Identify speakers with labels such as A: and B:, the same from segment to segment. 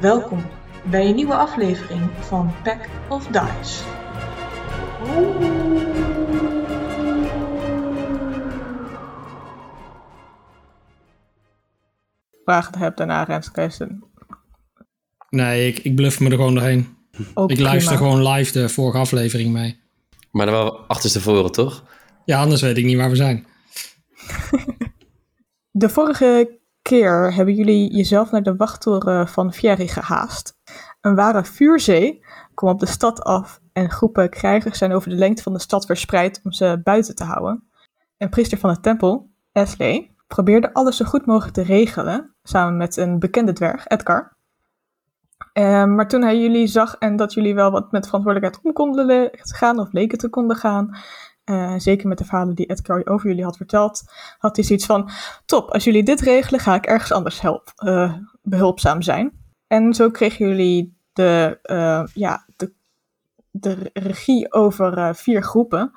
A: Welkom bij een nieuwe aflevering van Pack of Dice.
B: vragen hebt daarna Renskijsten.
C: Nee, ik, ik bluff me er gewoon doorheen.
B: Ook
C: ik luister
B: prima.
C: gewoon live de vorige aflevering mee.
D: Maar dan waren we achterstevoren, toch?
C: Ja, anders weet ik niet waar we zijn.
B: De vorige keer hebben jullie jezelf naar de wachttoren van Fieri gehaast. Een ware vuurzee kwam op de stad af en groepen krijgers zijn over de lengte van de stad verspreid om ze buiten te houden. Een priester van de tempel, Esley, probeerde alles zo goed mogelijk te regelen, samen met een bekende dwerg, Edgar. Eh, maar toen hij jullie zag en dat jullie wel wat met verantwoordelijkheid om konden le- gaan, of leken te konden gaan, eh, zeker met de verhalen die Edgar over jullie had verteld, had hij zoiets van: Top, als jullie dit regelen, ga ik ergens anders help, eh, behulpzaam zijn. En zo kregen jullie de, eh, ja, de, de regie over eh, vier groepen.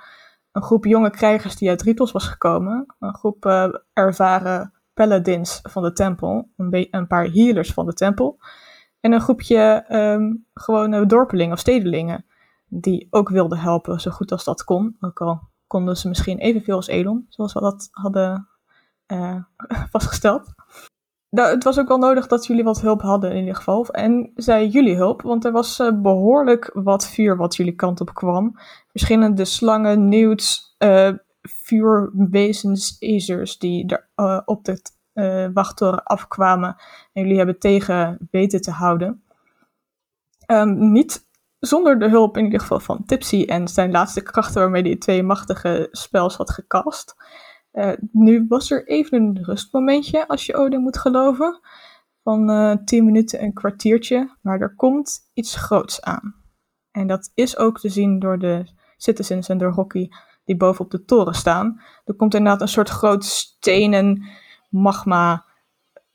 B: Een groep jonge krijgers die uit Ritos was gekomen. Een groep eh, ervaren paladins van de tempel. Een, be- een paar healers van de tempel. En een groepje ehm, gewone dorpelingen of stedelingen. Die ook wilden helpen, zo goed als dat kon. Ook al konden ze misschien evenveel als Elon, zoals we dat hadden eh, vastgesteld. Nou, het was ook wel nodig dat jullie wat hulp hadden in ieder geval. En zij jullie hulp, want er was eh, behoorlijk wat vuur wat jullie kant op kwam. Verschillende slangen, nieuws, vuurwezens, ezers die er eh, op de eh, wachttoren afkwamen. En jullie hebben tegen weten te houden. Ehm, niet zonder de hulp in ieder geval van Tipsy en zijn laatste krachten waarmee hij twee machtige spels had gecast. Eh, nu was er even een rustmomentje, als je Odin moet geloven, van eh 10 minuten, een kwartiertje, maar er komt iets groots aan. En dat is ook te zien door de citizens en door Rocky die boven op de toren staan. Er komt inderdaad een soort groot stenen magma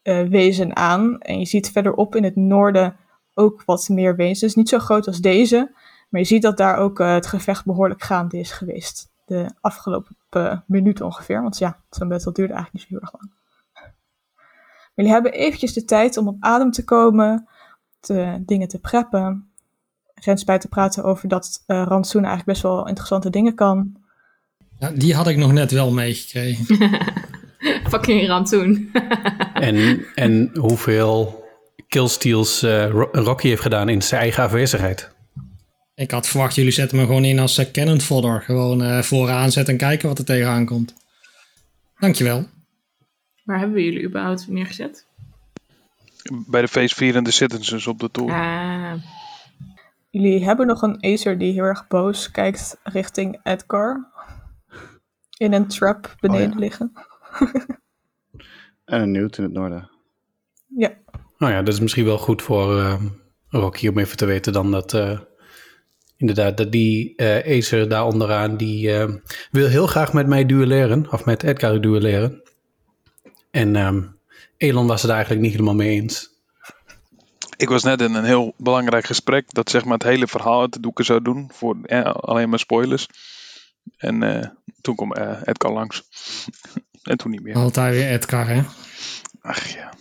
B: eh, wezen aan. En je ziet verderop in het noorden ook wat meer wezens. Niet zo groot als deze, maar je ziet dat daar ook eh, het gevecht behoorlijk gaande is geweest. De afgelopen eh, minuut ongeveer. Want ja, zo'n battle duurde eigenlijk niet zo heel erg lang. Jullie hebben eventjes de tijd om op adem te komen, te, dingen te preppen. Rens bij te praten over dat eh rantsoen eigenlijk best wel interessante dingen kan.
C: Ja, die had ik nog net wel meegekregen.
E: Fucking rantsoen.
F: En, en hoeveel killsteals eh, Ro- Rocky heeft gedaan in zijn eigen afwezigheid.
C: ik had verwacht, jullie zetten me gewoon in als eh, cannon fodder. Gewoon eh, vooraan zetten en kijken wat er tegenaan komt. Dankjewel.
E: Waar hebben we jullie überhaupt neergezet?
G: Bij de feestvierende citizens op de toren.
E: Ah,
B: Jullie hebben nog een Acer die heel erg boos kijkt richting Edgar. In een trap beneden
H: ja.
B: liggen.
H: En een newt in het noorden.
B: Ja,
F: Nou ja, dat is misschien wel goed voor eh, Rocky om even te weten dan dat... eh, inderdaad, dat die eh Acer daar onderaan, die eh, wil heel graag met mij duelleren. Of met Edgar duelleren. En ehm, Elon was het eigenlijk niet helemaal mee eens.
G: Ik was net in een heel belangrijk gesprek. Dat zeg maar het hele verhaal uit de doeken zou doen. Voor eh, alleen maar spoilers. En eh, toen kwam eh Edgar langs. en toen niet meer.
C: Altijd weer Edgar, hè?
G: Ach ja.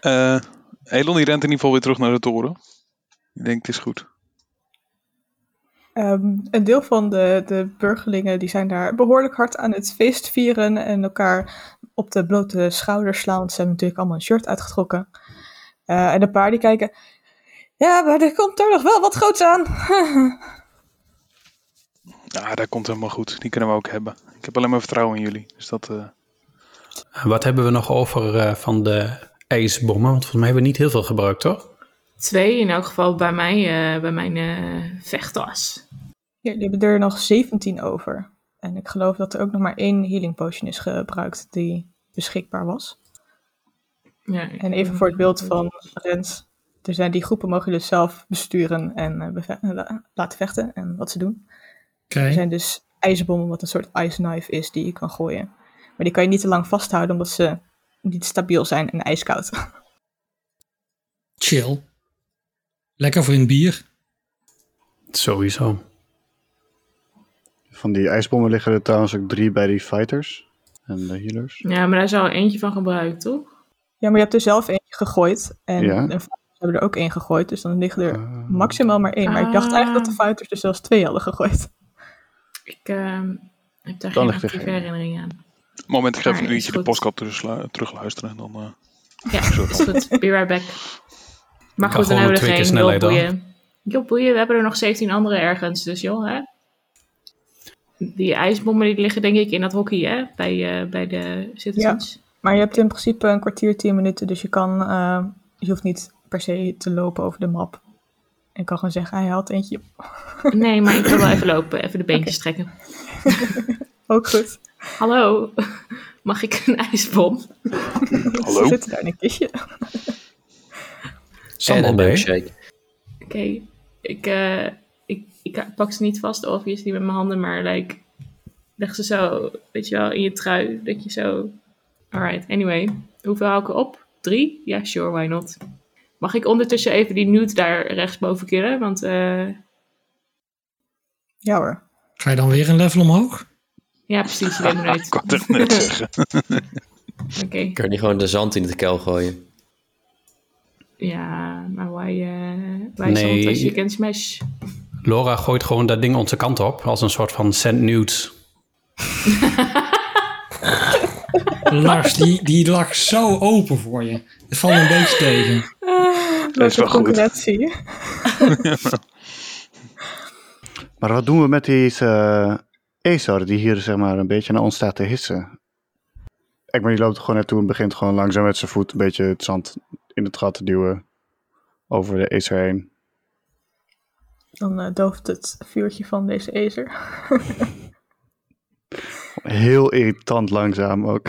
G: Eh, Elon die rent in ieder geval weer terug naar de toren. Ik denk het is goed.
B: Ehm, een deel van de, de burgerlingen die zijn daar behoorlijk hard aan het feest vieren en elkaar op de blote schouders slaan, want ze hebben natuurlijk allemaal een shirt uitgetrokken. Eh, en een paar die kijken, ja, maar er komt er nog wel wat groots aan.
G: Ja, Ah, dat komt helemaal goed. Die kunnen we ook hebben. Ik heb alleen maar vertrouwen in jullie. Dus dat... eh,
F: Eh, Wat hebben we nog over eh, van de ijsbommen? Want volgens mij hebben we niet heel veel gebruikt, toch?
E: twee in elk geval bij, mij, eh, bij mijn eh, vechttas.
B: Ja, Jullie hebben er nog 17 over. En ik geloof dat er ook nog maar één healing potion is gebruikt die beschikbaar was.
E: Ja, ik-
B: En even voor het beeld van Rens. Er zijn die groepen mogen jullie zelf besturen en eh, beve- eh, la- laten vechten en wat ze doen.
C: Oké.
B: Er zijn dus ijzerbommen, wat een soort ice knife is die je kan gooien. Maar die kan je niet te lang vasthouden omdat ze niet stabiel zijn en ijskoud.
C: Chill. Lekker voor een bier.
F: Sowieso.
H: Van die ijsbommen liggen er trouwens ook drie bij die fighters en de healers.
E: Ja, maar daar is al eentje van gebruikt, toch?
B: Ja, maar je hebt er zelf eentje gegooid. En,
H: Ja.
B: en fouters hebben er ook één gegooid. Dus dan liggen er
H: Ah.
B: maximaal maar één. Maar ik dacht
E: Ah.
B: eigenlijk dat de fouters er zelfs twee hadden gegooid.
E: Ik ehm, heb daar
H: Dan
E: geen
H: ligt er
E: actieve
H: geen-
E: herinnering aan.
G: Moment, ik ga even
E: Ah, is
G: een uurtje de
E: goed.
G: podcast teruglu- terugluisteren. En dan, eh,
E: Ja, is goed. Be right back. Maar
F: Kan
E: goed, dan
F: gewoon
E: hebben we er
F: twee keer
E: geen. Joh,
F: snelheid dan.
E: boeien. Joh, boeien. We hebben er nog 17 andere ergens. Dus joh, hè. Die ijsbommen die liggen denk ik in dat hockey, hè? Bij, eh, bij de citizens.
B: Maar je hebt in principe een kwartier, tien minuten. Dus je, kan, eh, je hoeft niet per se te lopen over de map. Ik kan gewoon zeggen, hij had eentje.
E: Nee, maar ik wil wel even lopen. Even de beentjes trekken.
B: Ook goed.
E: Hallo. Mag ik een ijsbom?
B: Ze
G: hallo?
B: zitten Dus daar in een kistje.
F: Sam al
D: een
F: mee.
D: milkshake.
E: Oké. Ik, eh, ik, ik pak ze niet vast, obviously, niet met mijn handen. Maar like, leg ze zo, weet je wel, in je trui. Dat je zo... Alright, anyway. Hoeveel hou ik erop? Drie? Ja, sure, why not? Mag ik ondertussen even die nude daar rechtsboven killen? Want eh,
B: Ja hoor.
C: Ga je dan weer een level omhoog?
E: ja, precies, je weet me
G: ik
E: nooit.
G: kan het echt net zeggen.
E: Oké.
D: Kun je niet gewoon de zand in het kel gooien?
E: Ja, maar why, eh why
F: Nee.
E: zand als je kan smash?
F: Laura gooit gewoon dat ding onze kant op. Als een soort van send nudes.
C: Lars, die, die lag zo open voor je. Het valt een beetje tegen.
G: Dat is wel goed.
B: concurrentie.
H: Maar wat doen we met deze eh, Ezar die hier zeg maar een beetje naar ons staat te hissen? Ekman die loopt er gewoon naartoe en begint gewoon langzaam met zijn voet een beetje het zand in het gat te duwen. Over de Ezar heen.
B: Dan eh, dooft het vuurtje van deze ezer.
H: Heel irritant langzaam ook.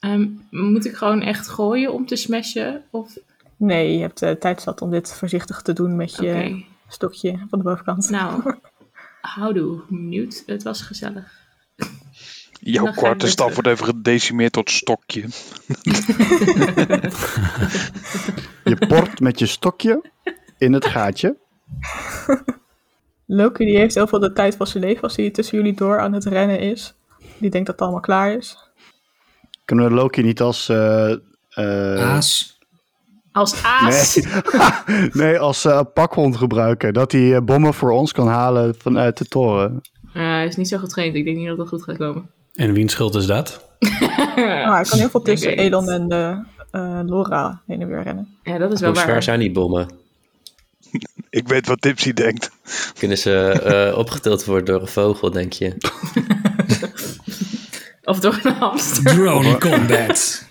E: Ehm, moet ik gewoon echt gooien om te smashen? Of,
B: Nee, je hebt eh, tijd zat om dit voorzichtig te doen met
E: oké.
B: je stokje van de bovenkant.
E: Nou, houdoe, benieuwd. Het was gezellig. Dan
G: Jouw
E: ga ik
G: kwarte
E: weer
G: stap
E: terug.
G: wordt even gedecimeerd tot stokje.
H: Je port met je stokje in het gaatje.
B: Loki die heeft heel veel de tijd van zijn leven als hij tussen jullie door aan het rennen is. Die denkt dat het allemaal klaar is.
H: Kunnen we Loki niet als... eh, eh,
C: Aas.
E: Als aas.
H: nee, als eh, pakhond gebruiken. Dat hij eh, bommen voor ons kan halen vanuit de toren.
E: Eh, hij is niet zo getraind. Ik denk niet dat het goed gaat komen.
F: En wiens schuld is dat?
B: Maar Ah, hij kan heel veel tussen
E: Ik weet
B: Elon
E: het.
B: en eh, eh, Laura heen en weer rennen.
E: Ja, dat is wel
D: Hoe zwaar
E: waar.
D: zijn die bommen?
G: Ik weet wat Tipsy denkt.
D: Kunnen ze eh, opgetild worden door een vogel, denk je?
E: Of door een hamster.
C: Drone combat.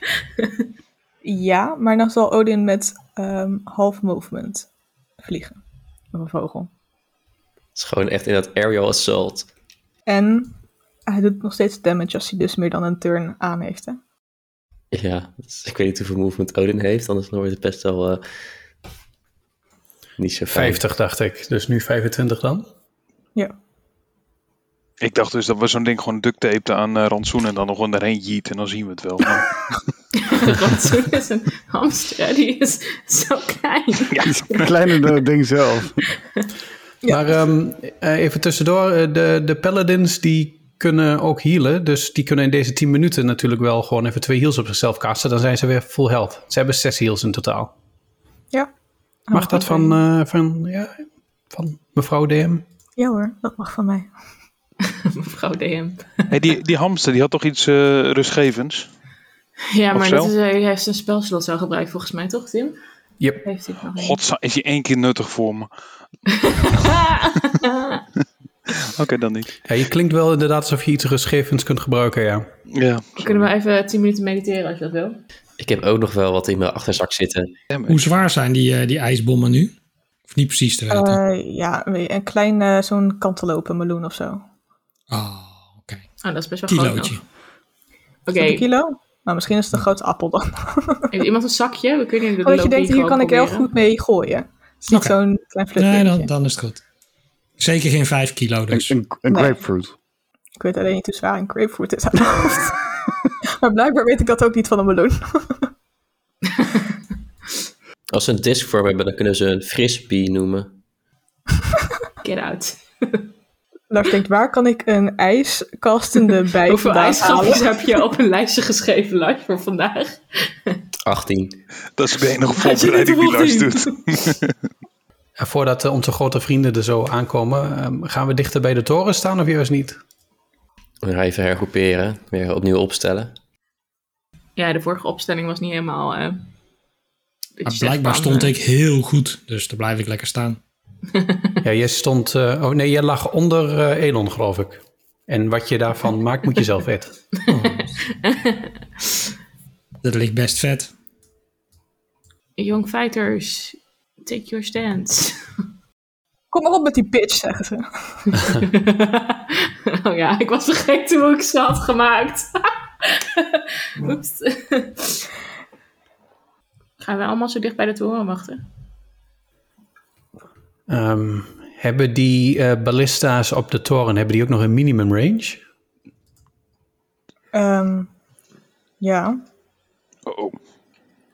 B: Ja, maar dan zal Odin met ehm, half movement vliegen. Of een vogel.
D: Het is gewoon echt in dat aerial assault.
B: En hij doet nog steeds damage als hij dus meer dan een turn aan heeft. Hè?
D: Ja, dus ik weet niet hoeveel movement Odin heeft, anders wordt het best wel eh, niet zo fijn.
F: 50 dacht ik. Dus nu 25 dan?
B: Ja.
G: Ik dacht dus dat we zo'n ding gewoon duct tapeten aan eh, rantsoen en dan nog gewoon erheen jeet en dan zien we het wel. Maar-
E: Rantsoen is een hamster. hè. Die is zo klein.
G: ja.
H: Kleiner dan het eh, ding zelf.
B: Ja.
F: Maar ehm, eh, even tussendoor, eh, de, de paladins die kunnen ook healen. Dus die kunnen in deze 10 minuten natuurlijk wel gewoon even twee heals op zichzelf casten. Dan zijn ze weer full health. Ze hebben zes heals in totaal.
B: ja.
F: Mag dat van, eh, van, ja, van mevrouw DM?
B: Ja hoor, dat mag van mij.
E: Mevrouw DM.
G: Hey, die, die hamster die had toch iets eh, rustgevends?
E: Ja,
G: Of
E: maar
G: zo?
E: dat is, eh, hij heeft zijn spelslot wel gebruikt volgens mij, toch Tim?
F: Yep.
E: Heeft hij het nog niet?
G: Godsa, is die één keer nuttig voor me? Oké, dan niet.
F: Ja, je klinkt wel inderdaad alsof je iets rustgevends kunt gebruiken, ja.
G: Ja.
E: Kunnen we even 10 minuten mediteren als je dat wil? Oh,
D: Ik heb ook nog wel wat in mijn achterzak zitten.
C: Hoe zwaar zijn die, eh, die ijsbommen nu? Of niet precies te weten?
B: Eh, ja, een klein eh, zo'n kantelopen meloen of zo.
C: oh, oké.
E: Oh, dat is best wel groot nog.
C: Kilootje.
E: Oké,
B: Is dat een kilo? Nou, misschien is het een grote appel dan.
E: heeft iemand een zakje? We kunnen de
B: Oh, Dat je
E: loopie
B: denkt, hier
E: gewoon
B: kan ik heel
E: proberen.
B: goed mee gooien. Het is niet
C: Oké.
B: zo'n klein
C: Nee,
B: flutje.
C: dan, dan is het goed. Zeker geen 5 kilo
H: Een,
C: dus.
H: een, een
B: Nee.
H: grapefruit.
B: Ik weet alleen niet hoe zwaar een grapefruit is aan de hoofd. maar blijkbaar weet ik dat ook niet van een meloen.
D: Als ze een discvorm hebben, dan kunnen ze een frisbee noemen.
E: Get out.
B: Lars denkt, waar kan ik een ijskastende bij
E: Hoeveel
B: vandaan halen?
E: ijsschapjes heb je op een lijstje geschreven, Lars, voor vandaag?
D: 18.
G: Dat is de enige
E: Hij zit er
G: voorbereiding die
E: toch
G: Lars
E: in?
G: doet.
F: En voordat eh, onze grote vrienden er zo aankomen, ehm, gaan we dichter bij de toren staan of juist niet?
D: We gaan even hergroeperen. Weer opnieuw opstellen.
E: Ja, de vorige opstelling was niet helemaal... eh, dat je
C: Maar
E: zegt
C: blijkbaar
E: van,
C: stond
E: eh,
C: ik heel goed, dus daar blijf ik lekker staan.
F: Ja, jij stond... eh, oh nee, jij lag onder eh, Elon, geloof ik. En wat je daarvan maakt, moet je zelf weten.
C: Dat ligt best vet.
E: Young fighters, take your stand.
B: Kom maar op met die pitch, zeggen ze.
E: oh ja, ik was vergeten hoe ik ze had gemaakt. Oeps. Gaan we allemaal zo dicht bij de toren wachten?
F: Ehm, hebben die eh, ballista's op de toren, hebben die ook nog een minimum range?
B: Ehm, ja,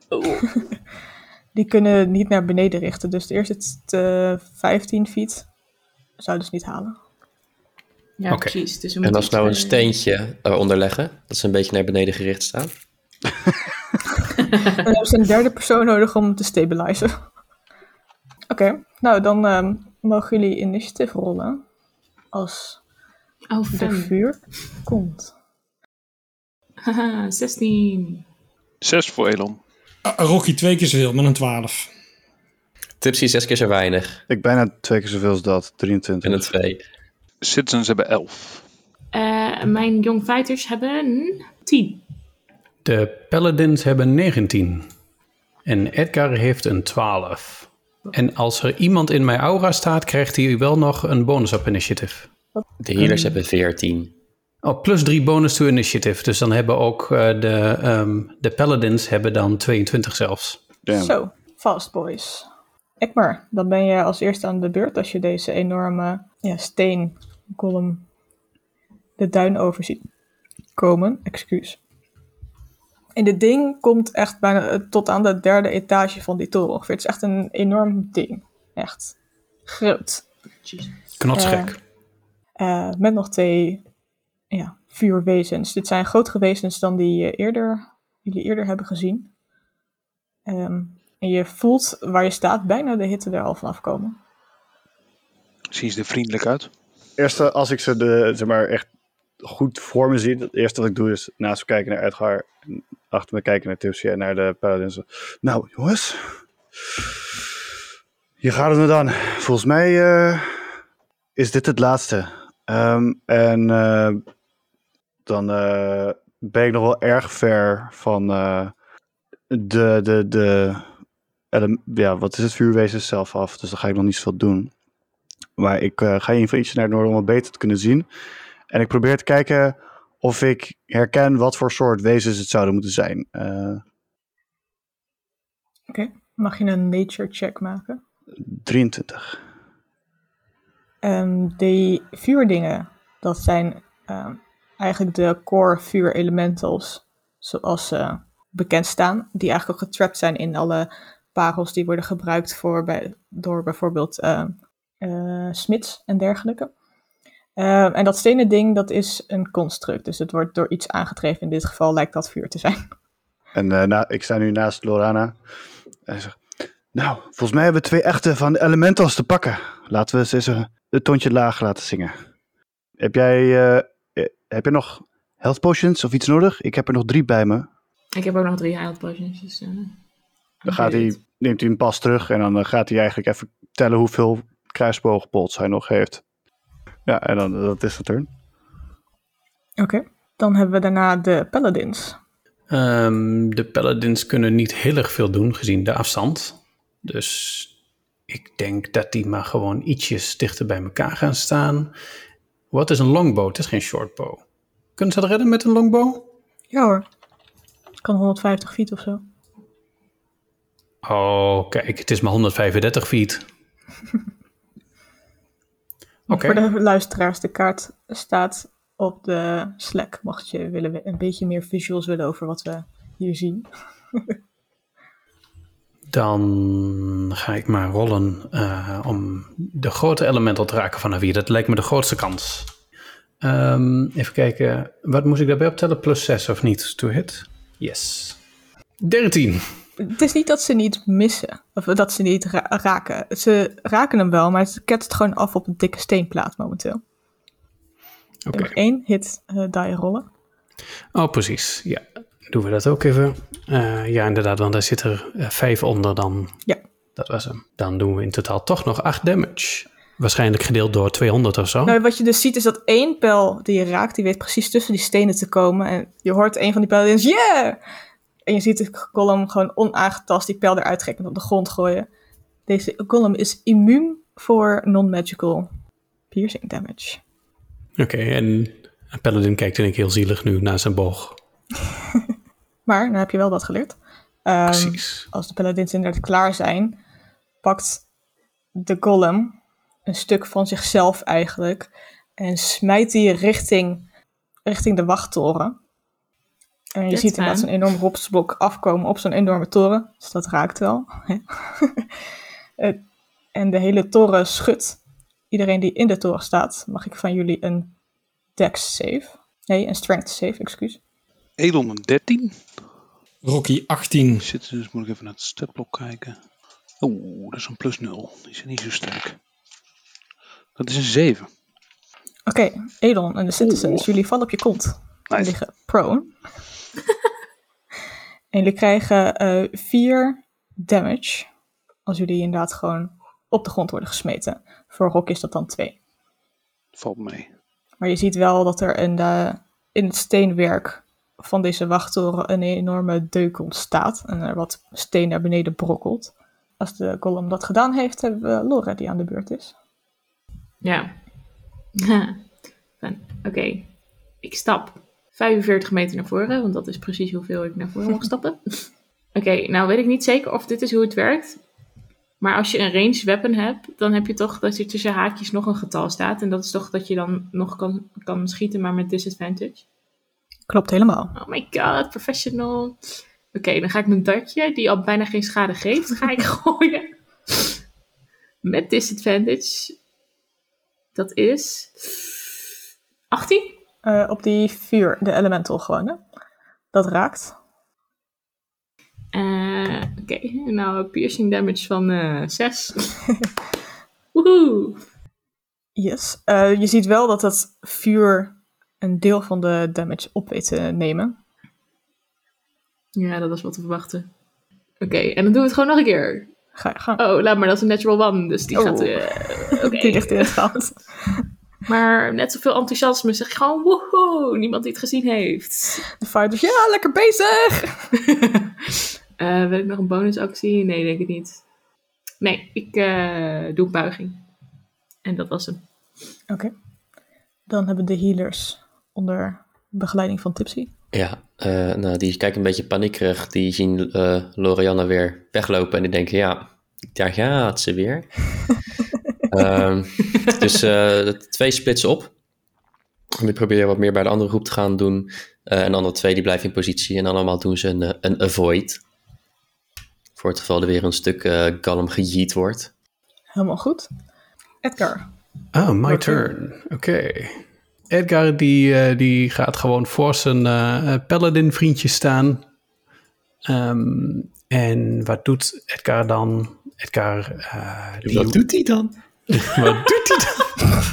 G: Oh,
B: die kunnen niet naar beneden richten. Dus eerst het eh 15 feet. Zou dus niet halen.
E: Ja,
F: Oké.
E: precies. Dus we
D: En
E: moeten
D: als we nou een
E: iets, eh,
D: steentje daaronder leggen, dat ze een beetje naar beneden gericht staan.
B: Dan hebben ze een Eh, derde persoon nodig om te stabilizen. Oké, nou dan ehm, mogen jullie initiatief rollen. Als
E: Oh,
B: de
E: fijn.
B: vuur komt.
E: Haha, 16.
G: zes voor Elon.
C: Ah, Rocky twee keer zoveel met een 12.
D: Tipsy zes keer zo weinig.
H: Ik bijna twee keer zoveel als dat,
D: En
H: 23.
D: een 2.
G: Citizens hebben elf.
E: Eh, mijn young fighters hebben 10.
F: De paladins hebben 19. En Edgar heeft een 12. En als er iemand in mijn aura staat, krijgt hij wel nog een bonus op initiative.
D: De healers hebben 14.
F: Oh, plus 3 bonus to initiative. Dus dan hebben ook eh, de, ehm, de paladins hebben dan 22 zelfs.
H: Damn.
B: Zo, fast boys. Ekmer, dan ben je als eerste aan de beurt als je deze enorme ja, steen golem de duin over ziet komen. Excuus. En dit ding komt echt bijna eh, tot aan de derde etage van die toren ongeveer. Het is echt een enorm ding. Echt groot.
E: Jeez.
F: Knotsgek.
B: Eh, met nog twee ja, vuurwezens. Dit zijn grotere wezens dan die je eerder, jullie eerder hebben gezien. Ehm, en je voelt waar je staat bijna de hitte er al vanaf komen.
G: Zien ze er vriendelijk uit?
H: eerste, als ik ze de, zeg maar, echt goed voor me zie, het eerste wat ik doe is naast me kijken naar Edgar, en achter me kijken naar Tipsy en naar de Paladins. Nou, jongens, hier gaat het me dan. Volgens mij eh, is dit het laatste. Ehm, en eh, dan eh, ben ik nog wel erg ver van eh, de, de, de, ele- ja, wat is het vuurwezen zelf af, dus daar ga ik nog niet zoveel doen. Maar ik eh, ga in ieder geval ietsje naar het noorden om het beter te kunnen zien. En ik probeer te kijken of ik herken wat voor soort wezens het zouden moeten zijn. Eh,
B: Mag je een nature check maken?
H: 23.
B: Ehm, die vuurdingen, dat zijn ehm, eigenlijk de core vuur elementals, zoals ze bekend staan, die eigenlijk ook getrapt zijn in alle parels die worden gebruikt voor bij, door bijvoorbeeld ehm, eh, smits en dergelijke. Ehm, en dat stenen ding, dat is een construct, dus het wordt door iets aangedreven. In dit geval lijkt dat vuur te zijn.
H: En eh, na, ik sta nu naast Lorana. En ik zeg, nou, volgens mij hebben we twee echte van de elementals te pakken. Laten we ze eens een- het toontje laag laten zingen. Heb jij eh, eh, heb je nog health potions of iets nodig? Ik heb er nog drie bij me.
E: Ik heb ook nog drie health potions. Dus, eh,
H: Dan gaat
E: weet
H: hij,
E: het.
H: neemt hij een pas terug en dan eh, gaat hij eigenlijk even tellen hoeveel kruisboogbolts hij nog heeft. Ja, en dan dat is de turn.
B: Oké. Dan hebben we daarna de paladins.
F: Ehm, de paladins kunnen niet heel erg veel doen gezien de afstand. Dus ik denk dat die maar gewoon ietsjes dichter bij elkaar gaan staan. Wat is een longbow? Het is geen shortbow. Kunnen ze dat redden met een longbow?
B: Ja hoor. Kan 150 feet of zo.
F: Oh, kijk, het is maar 135 feet. Oké,
B: Voor de luisteraars, de kaart staat op de Slack. Mocht je willen we- een beetje meer visuals willen over wat we hier zien.
F: Dan ga ik maar rollen eh, om de grote elemental te raken vanaf hier. Dat lijkt me de grootste kans. Ehm, even kijken. Wat moest ik daarbij optellen? Plus 6 of niet? To hit? Yes. 13.
B: Het is niet dat ze niet missen, of dat ze niet ra- raken. Ze raken hem wel, maar ze ketst gewoon af op een dikke steenplaat momenteel.
F: Oké.
B: Nummer 1, hit eh, die rollen.
F: Oh, precies. Ja. Doen we dat ook even. Eh, ja, inderdaad, want daar zit er eh, vijf onder dan.
B: Ja.
F: Dat was hem. Dan doen we in totaal toch nog 8 damage. Waarschijnlijk gedeeld door 200 of zo.
B: Nou, wat je dus ziet is dat één pijl die je raakt, die weet precies tussen die stenen te komen. En je hoort een van die pijlen en je zegt, yeah! En je ziet de golem gewoon onaangetast die pijl eruit trekken en op de grond gooien. Deze golem is immuun voor non-magical piercing damage.
F: Oké, en Paladin kijkt denk ik heel zielig nu naar zijn boog.
B: Maar, nou heb je wel wat geleerd. Ehm,
F: Precies.
B: als de paladins inderdaad klaar zijn, pakt de golem een stuk van zichzelf eigenlijk en smijt die richting, richting de wachttoren. En je
E: That's
B: ziet inderdaad zo'n
E: fine.
B: enorm rotsblok afkomen op zo'n enorme toren. Dus dat raakt wel. hè. Eh, en de hele toren schudt. Iedereen die in de toren staat, mag ik van jullie een dex save. Nee, een strength save, excuus.
G: Edelman 13.
C: Rocky 18.
G: Zit, dus moet ik even naar het stepblok kijken. Oeh, dat is een plus 0. Die zijn niet zo sterk. Dat is een 7.
B: Oké, Elon en de citizens,
G: Oeh.
B: jullie vallen op je kont. Die
G: Nice.
B: liggen prone. en jullie krijgen eh 4 damage. Als jullie inderdaad gewoon op de grond worden gesmeten. Voor Rock is dat dan 2.
G: Valt mee.
B: Maar je ziet wel dat er in, de, in het steenwerk van deze wachttoren een enorme deuk ontstaat. En er wat steen naar beneden brokkelt. Als de golem dat gedaan heeft, hebben we Laura die aan de beurt is.
E: Ja. Fijn. Oké. Ik stap 45 meter naar voren, want dat is precies hoeveel ik naar voren mag stappen. Oké, nou weet ik niet zeker of dit is hoe het werkt. Maar als je een ranged weapon hebt, dan heb je toch dat er tussen haakjes nog een getal staat. En dat is toch dat je dan nog kan, kan schieten, maar met disadvantage.
B: Klopt helemaal.
E: Oh my god, professional. Oké, dan ga ik mijn dartje, die al bijna geen schade geeft, ga ik gooien. Met disadvantage. Dat is 18.
B: Eh, op die vuur, de elemental gewoon. Hè? Dat raakt.
E: Eh, Oké, nou piercing damage van eh 6. Woehoe.
B: Yes. Eh, je ziet wel dat het vuur een deel van de damage op weet te nemen.
E: Ja, dat was wat te verwachten. Oké, en dan doen we het gewoon nog een keer.
B: Ga je gang.
E: Oh, laat maar, dat is een natural one, dus die
B: Oh.
E: gaat... eh, Oké.
B: Die ligt in het goud.
E: Maar net zoveel enthousiasme, zeg ik gewoon woehoe, niemand die het gezien heeft.
B: De fighters, ja, lekker bezig!
E: Eh, wil ik nog een bonusactie? Nee, denk ik niet. Nee, ik eh, doe een buiging. En dat was hem.
B: Oké. Dan hebben de healers onder begeleiding van Tipsy.
D: Ja, eh, nou, die kijken een beetje paniekerig. Die zien eh Lorianne weer weglopen en die denken, ja, daar gaat ze weer. Ehm, dus eh, de twee splitsen op. En die proberen wat meer bij de andere groep te gaan doen. Eh, en de andere twee die blijven in positie. En allemaal doen ze een, eh, een avoid. Voor het geval er weer een stuk eh galm gejeet wordt.
B: Helemaal goed. Edgar.
F: Ah, my
B: Oké.
F: turn. Oké. Edgar die, eh, die gaat gewoon voor zijn eh eh, paladin vriendje staan. Ehm, en wat doet Edgar dan? Edgar, eh, die-
C: Wat doet hij dan?
F: wat doet hij dan?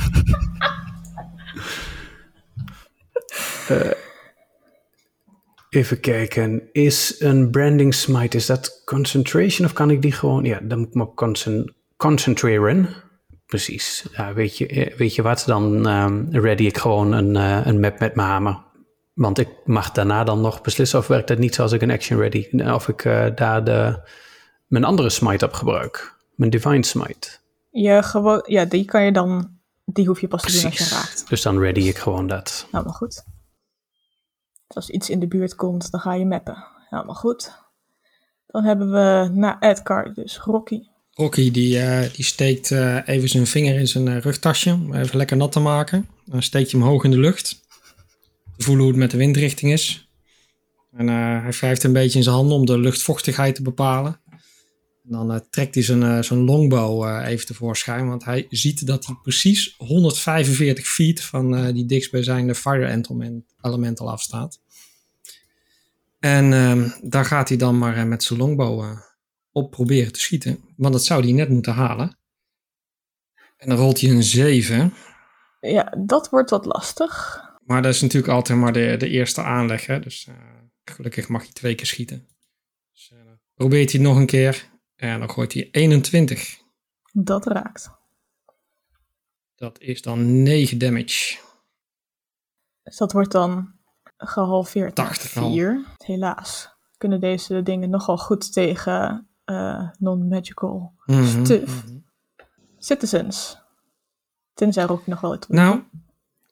F: Eh, even kijken. Is een branding smite, is dat concentration of kan ik die gewoon... Ja, dan moet ik me op concen- concentreren. Precies. Ja, weet, je, eh, weet je wat, dan ehm, ready ik gewoon een, eh, een map met mijn hamer. Want ik mag daarna dan nog beslissen of werkt dat niet zoals ik een action ready... Of ik eh, daar de, mijn andere smite op gebruik. Mijn divine smite.
B: Je gewoon, ja, die kan je dan, die hoef je pas te doen als je
F: Precies.
B: raakt.
F: Dus dan ready ik gewoon dat.
B: Helemaal Nou, goed. Dus als iets in de buurt komt, dan ga je mappen. Helemaal goed. Dan hebben we na Edgar, dus Rocky.
C: Rocky die, eh, die steekt eh, even zijn vinger in zijn eh, rugtasje om even lekker nat te maken. Dan steekt hij hem hoog in de lucht. Te voelen hoe het met de windrichting is. En eh, hij wrijft een beetje in zijn handen om de luchtvochtigheid te bepalen. En dan eh, trekt hij zijn, eh, zijn longbow eh, even tevoorschijn. Want hij ziet dat hij precies 145 feet van eh, die dichtstbijzijnde fire element- elemental afstaat. En ehm, daar gaat hij dan maar eh, met zijn longbow eh, op proberen te schieten. Want dat zou hij net moeten halen. En dan rolt hij een 7.
B: Ja, dat wordt wat lastig.
C: Maar dat is natuurlijk altijd maar de, de eerste aanleg. Hè? Dus eh, gelukkig mag hij twee keer schieten. Dus, eh, dan probeert hij het nog een keer. En dan gooit hij 21.
B: Dat raakt.
C: Dat is dan 9 damage.
B: Dus dat wordt dan gehalveerd naar
C: 80 al.
B: 4. Helaas kunnen deze dingen nogal goed tegen eh, non-magical
C: Mhm,
B: Stuf.
C: mhm.
B: citizens. Tenzij Rocky nog wel iets wil
C: Nou,
B: doen.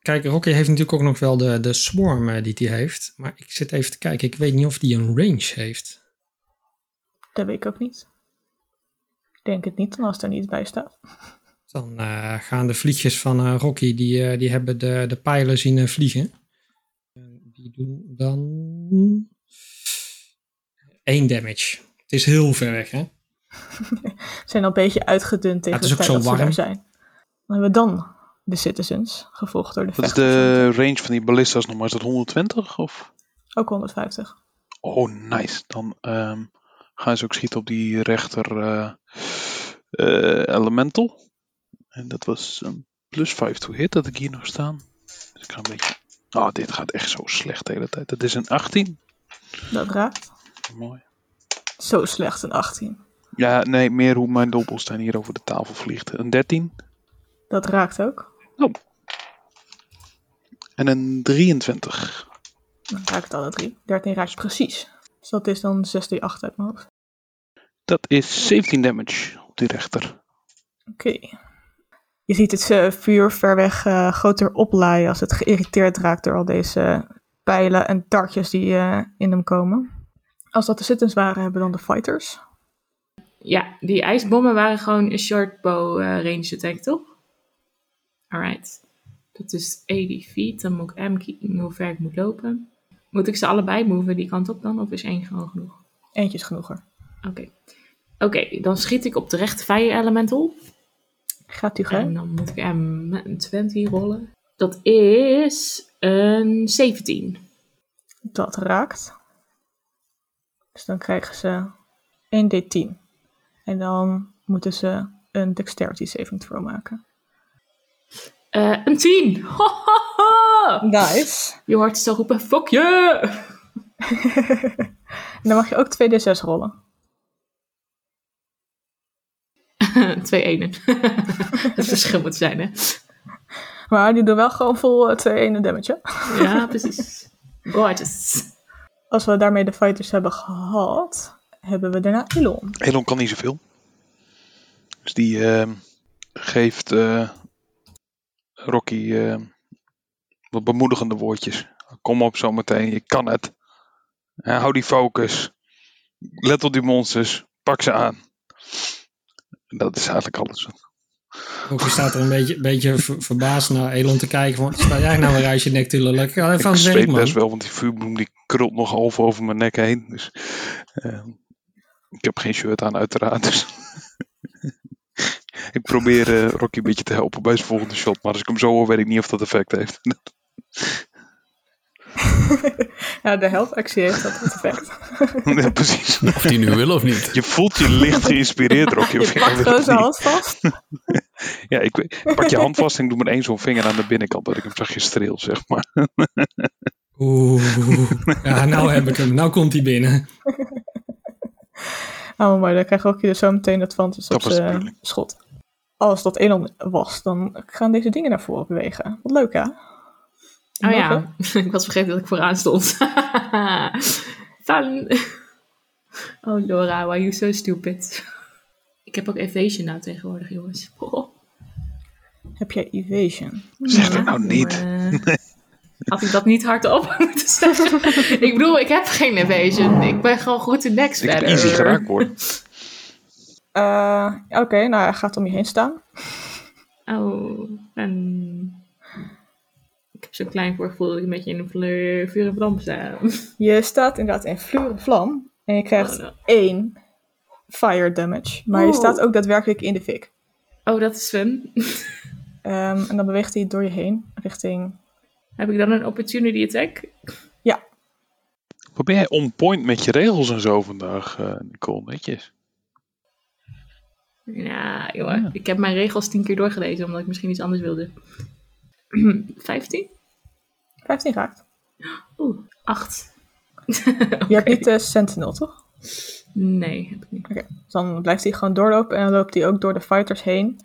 C: kijk, Rocky heeft natuurlijk ook nog wel de, de swarm eh, die hij heeft. Maar ik zit even te kijken. Ik weet niet of die een range heeft.
B: Dat weet ik ook niet. Ik denk het niet, als het er niet bij staat.
C: Dan eh, gaan de vliegjes van eh, Rocky, die, eh, die hebben de, de pijlen zien eh, vliegen. En die doen dan 1 damage. Het is heel ver weg, hè?
B: Ze zijn al een beetje uitgedund tegen
C: het
B: de
C: is
B: tijd
C: ook
B: dat
C: zo
B: ze daar
C: warm.
B: zijn. Dan hebben we dan de citizens, gevolgd door de
G: Wat is
B: vechters.
G: de range van die ballista's nog maar? Is dat 120 of?
B: Ook 150.
G: Oh, nice. Dan ehm, gaan ze ook schieten op die rechter eh, eh, elemental. En dat was een plus 5 to hit dat ik hier nog staan. Dus ik ga een beetje... Oh, dit gaat echt zo slecht de hele tijd. Dat is een 18.
B: Dat raakt.
G: Mooi.
B: Zo slecht een 18.
G: Ja, nee, meer hoe mijn dobbelsteen hier over de tafel vliegt. Een 13
B: Dat raakt ook.
G: en een 23.
B: Dan raakt alle drie. 13 raakt precies. Dus dat is dan 6d8 uit mijn hoofd.
G: Dat is 17 damage op die rechter.
B: Oké. Je ziet het eh, vuur ver weg eh, groter oplaaien als het geïrriteerd raakt door al deze pijlen en dartjes die eh, in hem komen. Als dat de citizens waren, hebben we dan de fighters.
E: Ja, die ijsbommen waren gewoon een short bow eh, range attack, toch? Alright. Dat is 80 feet. Dan moet ik M kiezen hoe ver ik moet lopen. Moet ik ze allebei moven die kant op dan? Of is één gewoon genoeg?
B: Eentje is genoeger.
E: Oké. Oké, dan schiet ik op de rechte fire elemental.
B: Gaat u
E: En
B: gaan?
E: dan moet ik hem met een 20 rollen. Dat is een 17.
B: Dat raakt. Dus dan krijgen ze 1d10. En dan moeten ze een dexterity saving throw maken.
E: Eh, een 10! Ho, ho, ho!
B: Nice.
E: Je hoort ze zo roepen, fuck je!
B: en dan mag je ook 2d6 rollen.
E: Twee enen. Het verschil moet zijn, hè?
B: Maar die doen wel gewoon vol 2 ene damage. hè?
E: Ja, precies. Gorgeous.
B: Als we daarmee de fighters hebben gehad, hebben we daarna Elon.
G: Elon kan niet zoveel. Dus die ehm, geeft eh, Rocky ehm, wat bemoedigende woordjes. Kom op zometeen, je kan het. Eh, hou die focus. Let op die monsters. Pak ze aan. Dat is eigenlijk alles.
C: Ook je staat er een beetje, beetje ver- verbaasd naar Elon te kijken. Van, sta jij nou weer uit je nek te lullen? Ik ga even aan
G: ik
C: het werk,
G: zweet
C: man.
G: best wel, want die vuurbloem die krult nog half over mijn nek heen. Dus, ehm, ik heb geen shirt aan, uiteraard. Dus ik probeer eh, Rocky een beetje te helpen bij zijn volgende shot. Maar als ik hem zo hoor, weet ik niet of dat effect heeft.
B: Ja, de helpactie heeft dat effect.
G: ja, precies.
F: Of die nu wil of niet.
G: Je voelt je licht geïnspireerd, Rocky. of
B: Je
G: je
B: pakt
G: wil
B: gewoon
G: het
B: zijn
G: niet.
B: hand vast.
G: Ja, ik, weet- ik pak je hand vast en ik doe met één zo'n vinger aan de binnenkant. Dat ik hem zachtjes streel, zeg maar.
C: Oeh, ja, nou heb ik hem. Nou komt hij binnen.
B: Oh, maar dan krijgt Rocky dus zo meteen dat advantage
G: Dat
B: op
G: was de
B: zijn eh,
G: bedoeling.
B: schot. Als dat Elon was, dan gaan deze dingen naar voren bewegen. Wat leuk, hè?
E: Oh
B: Mag,
E: ja, ik was vergeten dat ik vooraan stond. Fun. Oh Laura, why you so stupid? Ik heb ook evasion nou tegenwoordig, jongens. Oh.
B: Heb jij evasion?
G: Zeg dat nou niet.
E: Eh, Had ik dat niet hardop moeten zeggen? ik bedoel, ik heb geen evasion. Ik ben gewoon goed in next
G: Ik heb
E: verder.
G: easy geraakt worden.
B: Eh, Oké, nou hij gaat om je heen staan.
E: Oh, en... Ik heb zo'n klein voorgevoel dat ik een beetje in een vleur- vuur en vlam sta.
B: Je staat inderdaad in vloer en vlam. En je krijgt
E: Oh, no.
B: één fire damage. Maar je
E: Oeh.
B: staat ook daadwerkelijk in de fik.
E: Oh, dat is Sven.
B: Ehm, en dan beweegt hij door je heen richting.
E: Heb ik dan een opportunity attack?
G: Wat ben jij on point met je regels en zo vandaag, eh, Nicole? Netjes.
E: Ja, jongen. Ik heb mijn regels tien keer doorgelezen, omdat ik misschien iets anders wilde. 15?
B: 15 raakt.
E: Oeh, 8.
B: Je hebt niet de sentinel, toch?
E: Nee, heb ik niet.
B: Oké. Dus dan blijft hij gewoon doorlopen en dan loopt hij ook door de fighters heen.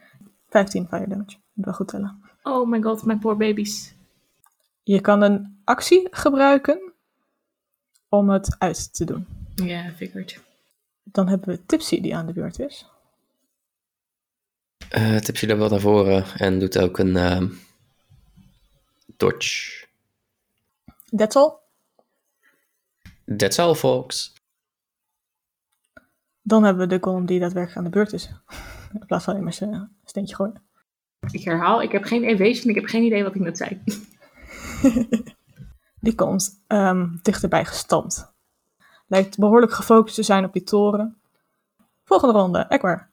B: 15 fire damage. Moet wel goed tellen.
E: Oh my god, mijn poor babies.
B: Je kan een actie gebruiken om het uit te doen.
E: Ja, figured.
B: Dan hebben we Tipsy die aan de beurt is.
D: Eh tipje loopt wel naar voren en doet ook een ehm, dodge.
B: That's all.
D: That's all, folks.
B: Dan hebben we de golem die daadwerkelijk aan de beurt is. In plaats van alleen maar zijn steentje gooien.
E: Ik herhaal, ik heb geen evasion, ik heb geen idee wat ik net zei.
B: Die komt ehm, dichterbij gestampt. Lijkt behoorlijk gefocust te zijn op die toren. Volgende ronde, Ekmar.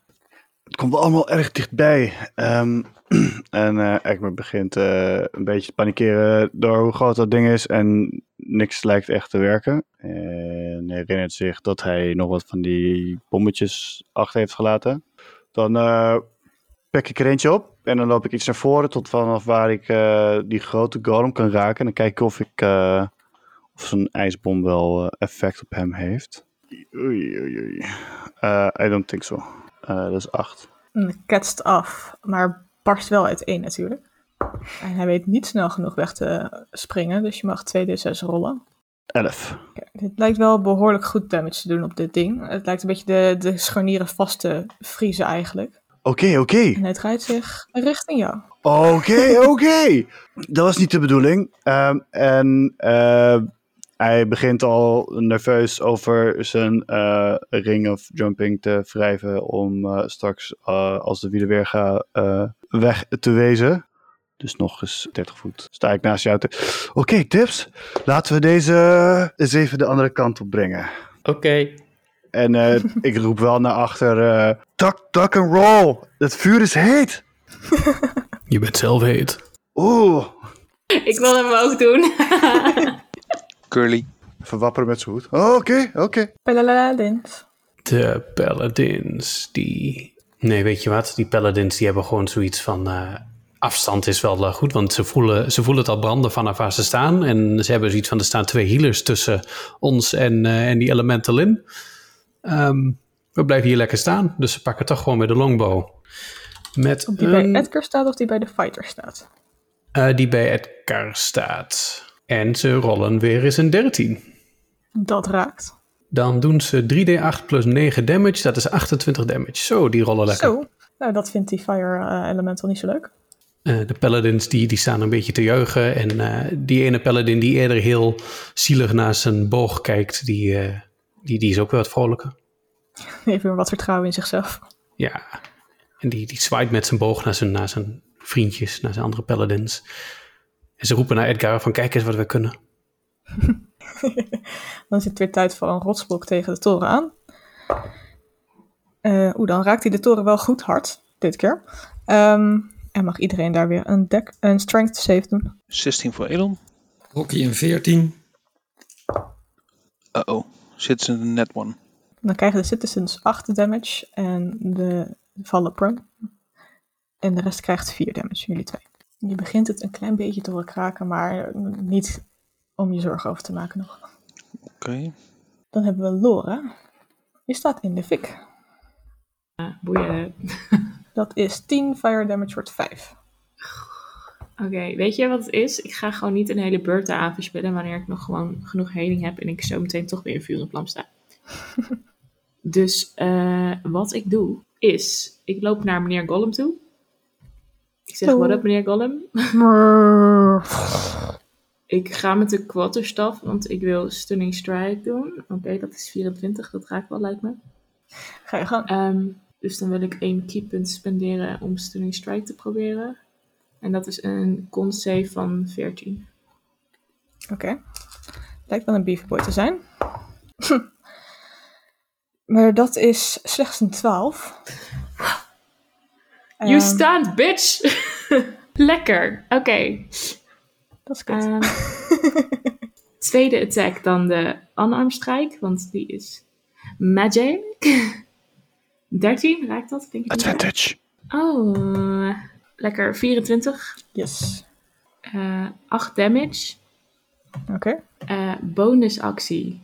H: Het komt wel allemaal erg dichtbij. Ehm, en eh Ekmer begint eh, een beetje te panikeren door hoe groot dat ding is en niks lijkt echt te werken. En herinnert zich dat hij nog wat van die bommetjes achter heeft gelaten. Dan eh pik ik er eentje op en dan loop ik iets naar voren tot vanaf waar ik eh, die grote golem kan raken. En dan kijk ik of ik eh, of zo'n ijsbom wel eh, effect op hem heeft. Oei, oei, oei. Eh, I don't think so. Eh, dat is 8.
B: Mm, Ketst af, maar barst wel uiteen natuurlijk. En hij weet niet snel genoeg weg te springen, dus je mag 2d6 rollen.
H: 11.
B: Oké, dit lijkt wel behoorlijk goed damage te doen op dit ding. Het lijkt een beetje de, de scharnieren vast te vriezen eigenlijk.
H: Oké, oké.
B: En hij draait zich richting jou.
H: Oké, oké. Dat was niet de bedoeling. Ehm, en eh, hij begint al nerveus over zijn eh, ring of jumping te wrijven om eh, straks eh, als de wielen weer gaan eh, weg te wezen. Dus nog eens 30 voet. Sta ik naast jou te... Oké, tips. Laten we deze eens even de andere kant op brengen.
D: Oké.
H: En eh, ik roep wel naar achter... eh duck, duck and roll. Het vuur is heet.
F: Je bent zelf heet.
H: Oeh,
E: Ik wil hem ook doen.
G: Curly.
H: verwapperen met zijn hoed. Oh, oké, oké.
B: Pelaladins.
F: De paladins, die... Nee, weet je wat? Die paladins die hebben gewoon zoiets van... eh, afstand is wel eh, goed, want ze voelen, ze voelen het al branden vanaf waar ze staan. En ze hebben zoiets van, er staan twee healers tussen ons en, eh, en die elemental in. Ehm, we blijven hier lekker staan, dus ze pakken toch gewoon weer de longbow. Met
B: Of die
F: een-
B: bij Edgar staat of die bij de fighter staat.
F: eh, die bij Edgar staat. En ze rollen weer eens een 13.
B: Dat raakt.
F: Dan doen ze 3d8 plus 9 damage. Dat is 28 damage. Zo, die rollen lekker.
B: Zo. Nou, dat vindt die fire eh, elemental niet zo leuk.
F: Eh, de paladins die, die staan een beetje te juichen. En eh, die ene paladin die eerder heel zielig naar zijn boog kijkt... die, eh, die, die is ook weer wat vrolijker.
B: Even weer wat vertrouwen in zichzelf.
F: Ja. En die, die zwaait met zijn boog naar zijn, naar zijn vriendjes, naar zijn andere paladins. En ze roepen naar Edgar van kijk eens wat we kunnen.
B: Dan is het weer tijd voor een rotsblok tegen de toren aan. Eh Oeh, dan raakt hij de toren wel goed hard, dit keer. Ehm, en mag iedereen daar weer een, dek, een strength save doen.
G: 16 voor Elon.
C: Rocky een 14.
G: Uh-oh. Zit ze in de net one.
B: Dan krijgen de citizens 8 damage en de vallen prone. En de rest krijgt 4 damage, jullie twee. Je begint het een klein beetje te horen kraken, maar niet om je zorgen over te maken nog.
G: Oké.
B: Dan hebben we Laura. Die staat in de fik.
E: Ja, boeien.
B: Dat is 10 fire damage wordt 5.
E: Oké, weet je wat het is? Ik ga gewoon niet een hele beurt aan verspillen wanneer ik nog gewoon genoeg heling heb en ik zo meteen toch weer in vuur en vlam sta. dus eh, wat ik doe is, ik loop naar meneer Gollum toe. Ik zeg,
B: Hallo.
E: what up meneer Gollum? Ik ga met de quarterstaf, want ik wil stunning strike doen. Oké, dat is 24, dat raakt wel lijkt me.
B: Ga je gang.
E: Ehm, dus dan wil ik één keypunt spenderen om Stunning Strike te proberen. En dat is een con save van 14.
B: Oké. Lijkt wel een beaverboy te zijn. Maar dat is slechts een 12.
E: You
B: Ehm,
E: stand, bitch! Lekker. Oké.
B: Dat is kut.
E: Ehm, tweede attack dan de unarmed strike, want die is magic. 13, raakt dat? Denk ik niet.
H: Advantage.
E: Oh, lekker. 24.
B: yes.
E: eh 8 damage.
B: Oké.
E: Eh, bonusactie.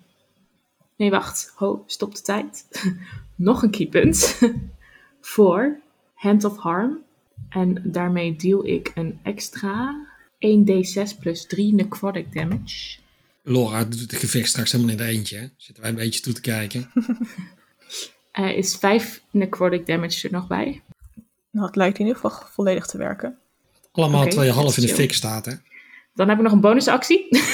E: Nee, wacht. Ho, stop de tijd. Nog een keypunt. Voor Hand of Harm. En daarmee deal ik een extra 1d6 plus 3 necrotic damage.
C: Laura doet het gevecht straks helemaal in het eentje. hè? Zitten wij een beetje toe te kijken.
E: Eh, is 5 necrotic damage er nog bij.
B: Nou, het lijkt in ieder geval volledig te werken.
C: Allemaal
E: Oké,
C: terwijl je half in de
E: chill.
C: fik staat, hè?
E: Dan heb ik nog een bonusactie.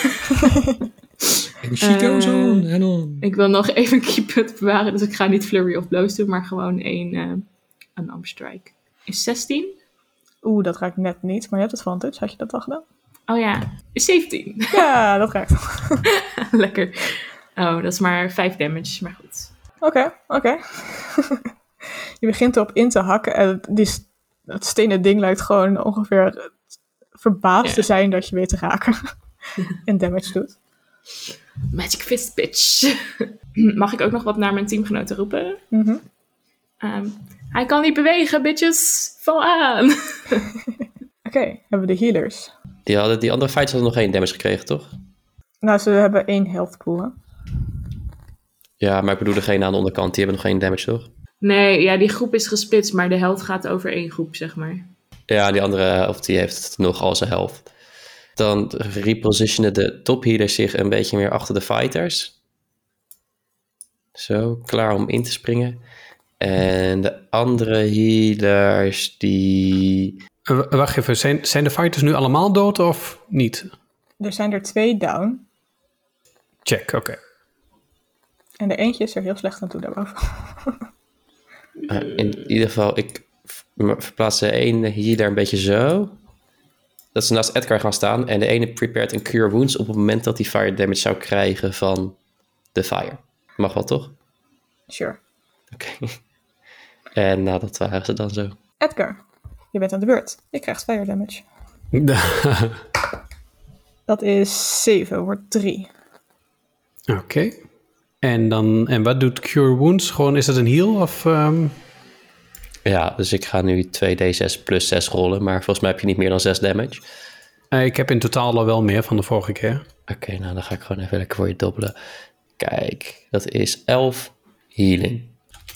C: En Chico-zoon,
E: Eh,
C: en dan...
E: ik wil nog even een keypunt bewaren, dus ik ga niet flurry of blows doen, maar gewoon één eh een arm strike. Is 16?
B: Oeh, dat raakt net niet. Maar je hebt advantage. Had je dat al gedaan?
E: Oh ja, is 17.
B: Ja, dat raakt. Oké,
E: Lekker. Oh, dat is maar 5 damage, maar goed.
B: oké. je begint erop in te hakken en het- die, s- dat stenen ding lijkt gewoon ongeveer verbaasd
E: Ja.
B: te zijn dat je weet te raken. en damage doet.
E: Magic fist, bitch. Mag ik ook nog wat naar mijn teamgenoten roepen?
B: Mhm.
E: Ehm, hij kan niet bewegen, bitches. Val aan.
B: Oké, hebben we de healers.
D: Die, hadden, die andere fights hadden nog geen damage gekregen, toch?
B: Nou, ze hebben één health pool. hè?
D: Ja, maar ik bedoel degene aan de onderkant. Die hebben nog geen damage, toch?
E: Nee, ja, die groep is gesplitst, maar de helft gaat over één groep, zeg maar.
D: Ja, die andere, of die heeft nog al zijn helft. Dan repositionen de tophealers zich een beetje meer achter de fighters. Zo, klaar om in te springen. En de andere healers die...
F: Eh, w- wacht even, zijn, zijn de fighters nu allemaal dood of niet?
B: Er zijn er twee down.
F: Check, oké.
B: En de eentje is er heel slecht aan toe daarboven.
D: eh, in ieder geval, ik ver- verplaats de ene healer een beetje zo. Dat ze naast Edgar gaan staan. En de ene prepared een cure wounds op het moment dat hij fire damage zou krijgen van de fire. Mag wel, toch?
B: Sure.
D: Oké. En nou, dat waren ze dan zo.
B: Edgar, je bent aan de beurt. Je krijgt fire damage. Dat is 7, wordt 3.
F: Oké. En, dan, en wat doet Cure Wounds? Gewoon, is dat een heal? Of, ehm,
D: Ja, dus ik ga nu 2d6 plus 6 rollen, maar volgens mij heb je niet meer dan 6 damage.
F: eh, ik heb in totaal al wel meer van de vorige keer.
D: Oké, nou dan ga ik gewoon even lekker voor je dobbelen. Kijk, dat is 11 healing.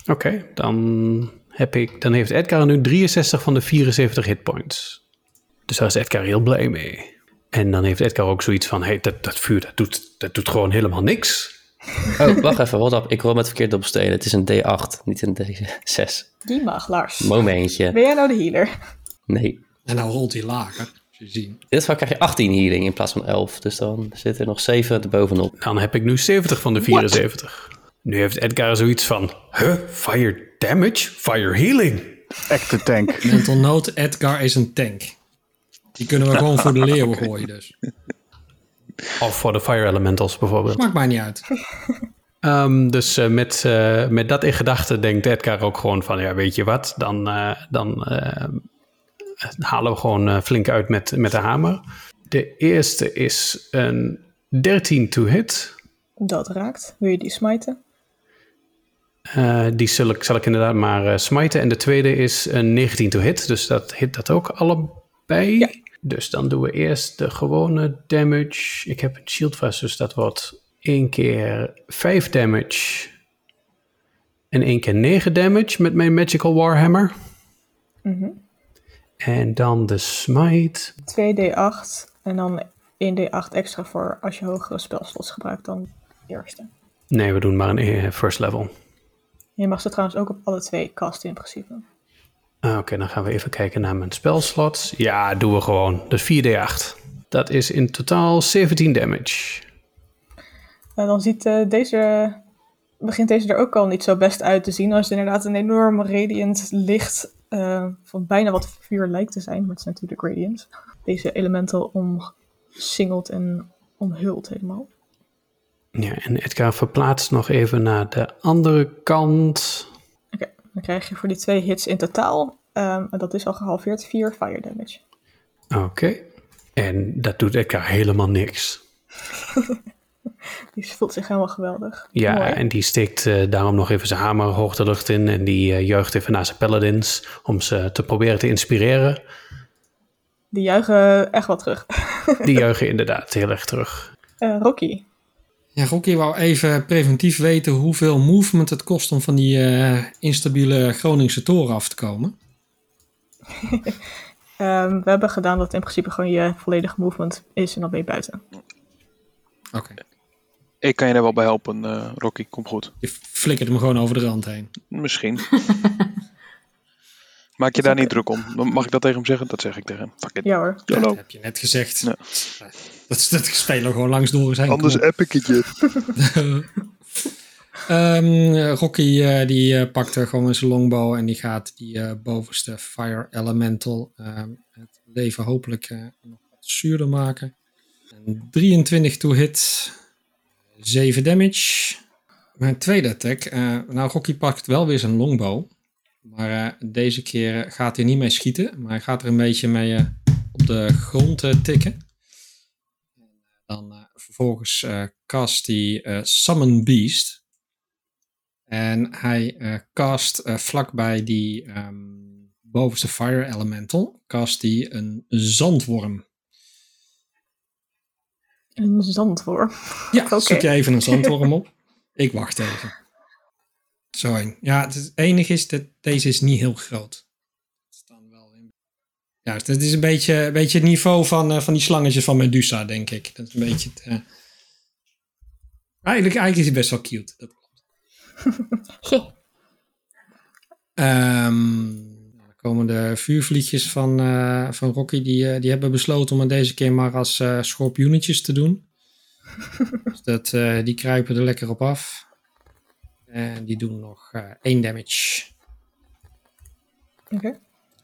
F: Oké, dan, heb ik, dan heeft Edgar nu 63 van de 74 hitpoints. Dus daar is Edgar heel blij mee. En dan heeft Edgar ook zoiets van, hey, dat, dat vuur dat doet, dat doet gewoon helemaal niks.
D: Oh, wacht even, hold up. Ik rol met verkeerd dobbelstenen. Het is een d8, niet een d6.
B: Die mag, Lars.
D: Momentje.
B: Ben jij nou de healer?
D: Nee.
C: En nou rolt hij lager. Als je ziet.
D: In dit geval krijg je 18 healing in plaats van 11. Dus dan zit er nog 7 erbovenop.
F: Dan heb ik nu 70 van de 74. Nu heeft Edgar zoiets van, huh, fire damage, fire healing.
H: Act the tank.
C: Mental note, Edgar is een tank. Die kunnen we gewoon voor de leeuwen gooien dus.
F: Of voor de fire elementals bijvoorbeeld.
C: Maakt mij niet uit.
F: Ehm, dus eh, met, eh, met dat in gedachten denkt Edgar ook gewoon van, ja, weet je wat, dan, eh, dan eh, halen we gewoon eh, flink uit met, met de hamer. De eerste is een 13 to hit.
B: Dat raakt. Wil je die smijten?
F: Eh, die zal ik, zal ik inderdaad maar eh, smijten. En de tweede is een 19 to hit, dus dat hit dat ook allebei. Dus dan doen we eerst de gewone damage. Ik heb een shield vast, dus dat wordt 1 keer 5 damage. En 1 keer 9 damage met mijn Magical Warhammer. En dan de smite.
B: 2d8 en dan 1d8 extra voor als je hogere spelslots gebruikt dan de eerste.
F: Nee, we doen maar een eh, first level.
B: Je mag ze trouwens ook op alle twee casten in principe.
F: Ah, Oké, dan gaan we even kijken naar mijn spelslots. Ja, doen we gewoon. Dus 4d8. Dat is in totaal 17 damage.
B: Nou, dan ziet eh, deze, begint deze er ook al niet zo best uit te zien. Als inderdaad een enorm radiant licht eh, van bijna wat vuur lijkt te zijn. Maar het is natuurlijk radiant. Deze elementen omsingeld en omhuld helemaal.
F: Ja, en Edgar verplaatst nog even naar de andere kant.
B: Dan krijg je voor die twee hits in totaal, ehm, en dat is al gehalveerd, 4 fire damage.
F: Oké. En dat doet Edgar helemaal niks.
B: Die voelt zich helemaal geweldig.
F: Ja,
B: Mooi.
F: en die steekt eh, daarom nog even zijn hamer hoog de lucht in. En die eh, juicht even naar zijn paladins om ze te proberen te inspireren.
B: Die juichen echt wel terug.
F: Die juichen inderdaad heel erg terug.
B: Eh, Rocky,
C: Ja, Rocky wou even preventief weten hoeveel movement het kost om van die eh, instabiele Groningse toren af te komen.
B: ehm, we hebben gedaan dat in principe gewoon je volledige movement is en dan ben je buiten.
C: Oké.
G: Ik kan je daar wel bij helpen, eh, Rocky. Kom goed.
C: Je flikkert hem gewoon over de rand heen.
G: Misschien. Maak je daar niet druk om. Dan Mag ik dat tegen hem zeggen? Dat zeg ik tegen hem. Fuck it.
B: Ja hoor.
G: YOLO.
C: Dat heb je net gezegd.
G: Oh. Ja.
C: Dat, dat spelen we gewoon langs door zijn.
G: Anders app ik het je.
C: Ehm, eh, Rocky eh, die eh, pakt er gewoon zijn longbow en die gaat die eh, bovenste Fire Elemental ehm, het leven hopelijk eh, nog wat zuurder maken. En 23 to hit, 7 damage. Mijn tweede attack. eh, nou, Rocky pakt wel weer zijn longbow. Maar eh, deze keer eh, gaat hij niet mee schieten. Maar hij gaat er een beetje mee eh, op de grond eh, tikken. Dan eh, vervolgens eh, cast hij eh, Summon Beast. En hij eh, cast eh, vlakbij die ehm, bovenste Fire Elemental, cast hij een zandworm.
B: Een zandworm.
C: Ja,
B: Oké.
C: zoek je even een zandworm op. Ik wacht even. Zo één. Ja, het, is- het enige is dat deze is niet heel groot. Het is dan wel in- Ja, dus dit is een beetje, een beetje het niveau van, eh, van die slangetjes van Medusa, denk ik. Dat is een beetje het, eh, Eigenlijk, eigenlijk is hij best wel cute. Dat klopt. Ehm, nou, dan komen de vuurvliegjes van, eh, van Rocky. Die, eh, die hebben besloten om het deze keer maar als eh schorpioenetjes te doen. Dus dat, eh, die kruipen er lekker op af. En die doen nog eh, één damage.
B: Oké.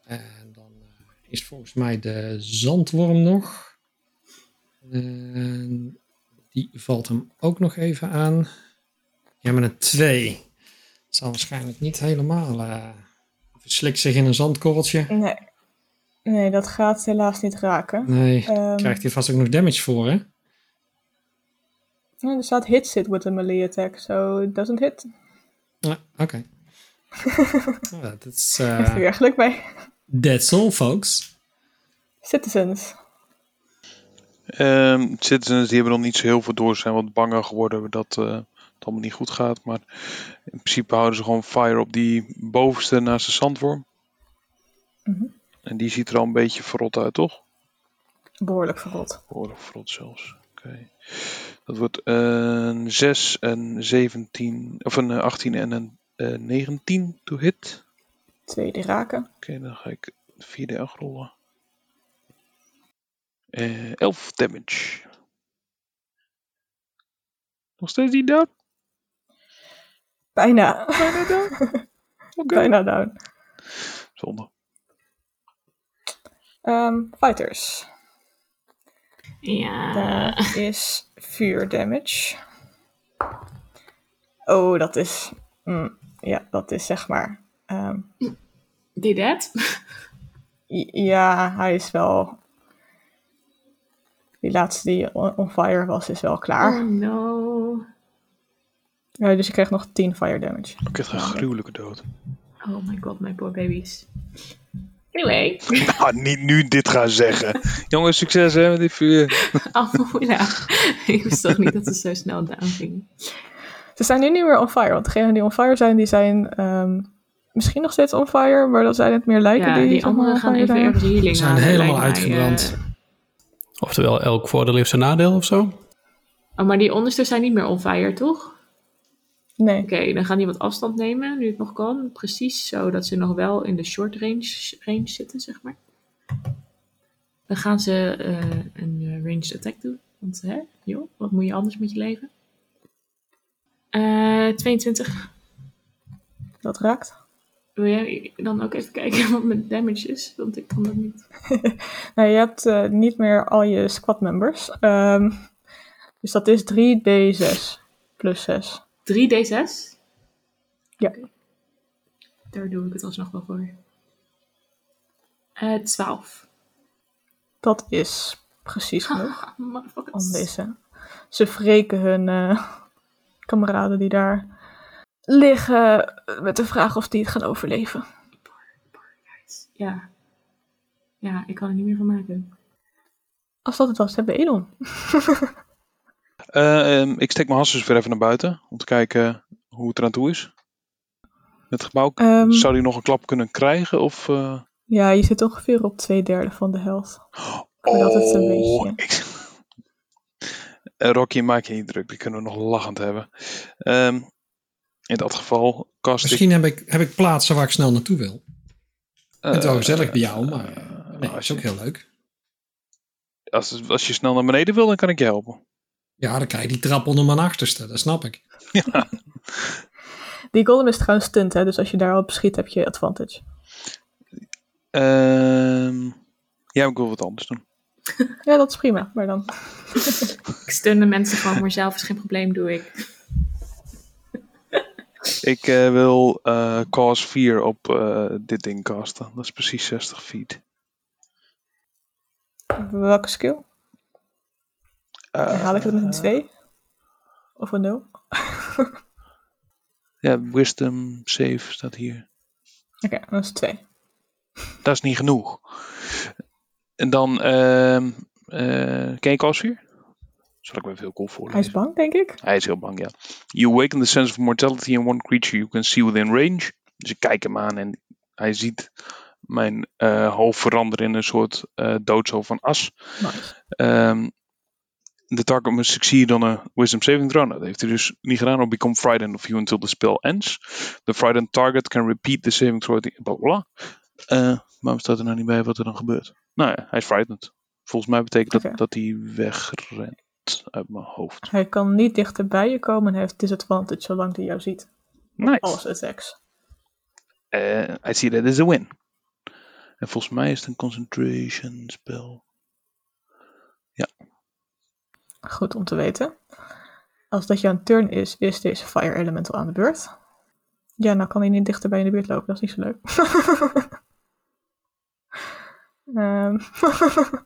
C: En dan eh, is volgens mij de zandworm nog. En die valt hem ook nog even aan. Ja, maar een 2. Dat zal waarschijnlijk niet helemaal. eh verslikt zich in een zandkorreltje.
B: Nee. nee, dat gaat helaas niet raken.
C: Nee,
B: Ehm,
C: krijgt hij vast ook nog damage voor, hè?
B: ja, er staat hits it with a melee attack, so it doesn't hit.
C: Ja, oké. Ja, Dat is.
B: Heeft er
C: eh
B: weer geluk bij.
C: that's all, folks.
B: Citizens.
G: Ehm citizens die hebben nog niet zo heel veel door. Ze zijn wat banger geworden dat eh, het allemaal niet goed gaat. Maar in principe houden ze gewoon fire op die bovenste naast de zandworm.
B: Mhm.
G: En die ziet er al een beetje verrot uit, toch?
B: Behoorlijk verrot.
G: Behoorlijk verrot zelfs. Oké. Dat wordt eh, een 6, een 17, of een eh, 18 en een eh, 19 to hit.
B: Twee die raken.
G: Oké, dan ga ik 4d8 rollen. Eh 11 damage. Nog steeds die down?
B: Bijna. Bijna down.
G: Oké.
B: Bijna down.
G: Zonde.
B: Ehm, fighters.
E: Ja.
B: Daar is vuur damage. Oh, dat is. mm, ja, dat is zeg maar. ehm,
E: Did that?
B: i- ja, hij is wel. Die laatste die on, on fire was, is wel klaar.
E: Oh no.
B: Ja, dus ik krijg nog 10 fire damage.
G: Ik krijg een gruwelijke dood.
E: Oh my god, my poor babies. Anyway.
G: Ah, niet nu dit gaan zeggen. Jongens, succes hè met dit vuur.
E: Oh ja. Ik wist toch niet dat ze zo snel down ging.
B: Ze zijn nu niet meer on fire, want degenen die on fire zijn, die zijn ehm, misschien nog steeds on fire, maar dat zijn het meer lijken
E: Ja,
B: die,
E: die
B: zeg maar,
E: anderen
B: on
E: gaan
B: fire
E: even
B: zijn.
E: ergens healing
C: Ze zijn
E: halen,
C: helemaal
E: lijkt mij, eh.
C: uitgebrand.
F: Oftewel, elk voordeel heeft zijn nadeel of zo.
E: Oh, maar die onderste zijn niet meer on fire, toch?
B: Nee,
E: Oké, dan gaan die wat afstand nemen, nu het nog kan. Precies, zodat ze nog wel in de short range, range zitten, zeg maar. Dan gaan ze eh, een eh, ranged attack doen. Want, hè, joh, wat moet je anders met je leven? Eh 22.
B: dat raakt.
E: Wil jij dan ook even kijken wat mijn damage is? Want ik kan dat niet.
B: Nou, je hebt eh, niet meer al je squad members. ehm, dus dat is 3d6. plus 6.
E: 3d6?
B: Ja.
E: Oké. Daar doe ik het alsnog wel voor. Eh 12.
B: Dat is precies genoeg
E: Oh,
B: om
E: Motherfuckers.
B: deze. Ze wreken hun eh, kameraden die daar liggen met de vraag of die het gaan overleven.
E: Ja. Ja, ik kan er niet meer van maken.
B: Als dat het was, hebben we Elon.
G: Eh, ehm, ik steek mijn hasses weer even naar buiten. Om te kijken hoe het eraan toe is. Het gebouw.
B: Ehm,
G: Zou die nog een klap kunnen krijgen? Of, eh,
B: ja, je zit ongeveer op twee derde van de helft. vind dat het een beetje-
G: Oh, ik- Eh, Rocky, maak je niet druk. Die kunnen we nog lachend hebben. Ehm, in dat geval kast
C: Misschien heb ik, heb ik plaatsen waar ik snel naartoe wil.
G: ik...
C: het
G: eh,
C: wel gezellig bij jou, maar,
G: eh,
C: Nee, dat
G: als,
C: is Nou, ook
G: je,
C: heel leuk.
G: als, als je snel naar beneden wil, dan kan ik je helpen.
C: Ja, dan krijg je die trap onder mijn achterste, dat snap ik.
B: Die golem is trouwens stunt, hè, dus als je daar al op schiet, heb je advantage.
G: Ehm, ja, maar ik wil wat anders doen.
B: Ja, dat is prima, maar dan.
E: Ik steun de mensen gewoon voor zelf, is geen probleem, doe ik.
G: Ik eh, wil eh cause 4 op eh, dit ding casten. Dat is precies 60 feet.
B: Welke skill?
G: Eh,
B: Haal ik het met een 2? Of een 0?
G: Ja, wisdom save staat hier.
B: Oké, dat is 2.
G: Dat is niet genoeg. En dan, ehm eh ken je Cosfear? Zal ik me even heel cool
B: Hij is
G: voorlezen.
B: bang, denk ik.
G: Hij is heel bang, ja. You awaken the sense of mortality in one creature you can see within range. Dus ik kijk hem aan en hij ziet mijn eh, hoofd veranderen in een soort eh doodshoofd van as.
B: Nice.
G: Ehm, the target must succeed on a wisdom saving throw. Nou, dat heeft hij dus niet gedaan. Or become frightened of you until the spell ends. The frightened target can repeat the saving throw. at the- Bla bla. bla. Eh, waarom staat er nou niet bij wat er dan gebeurt? Nou ja, hij is frightened. Volgens mij betekent dat
B: Oké.
G: dat hij wegrent uit mijn hoofd.
B: Hij kan niet dichterbij je komen en hij heeft disadvantage zolang hij jou ziet.
G: Nice.
B: Alles attacks.
G: Eh, I see that as a win. En volgens mij is het een concentration spell.
B: Goed om te weten. Als dat jouw turn is, is deze fire elemental aan de beurt. Ja, nou kan hij niet dichterbij in de buurt lopen, dat is niet zo leuk. Ehm,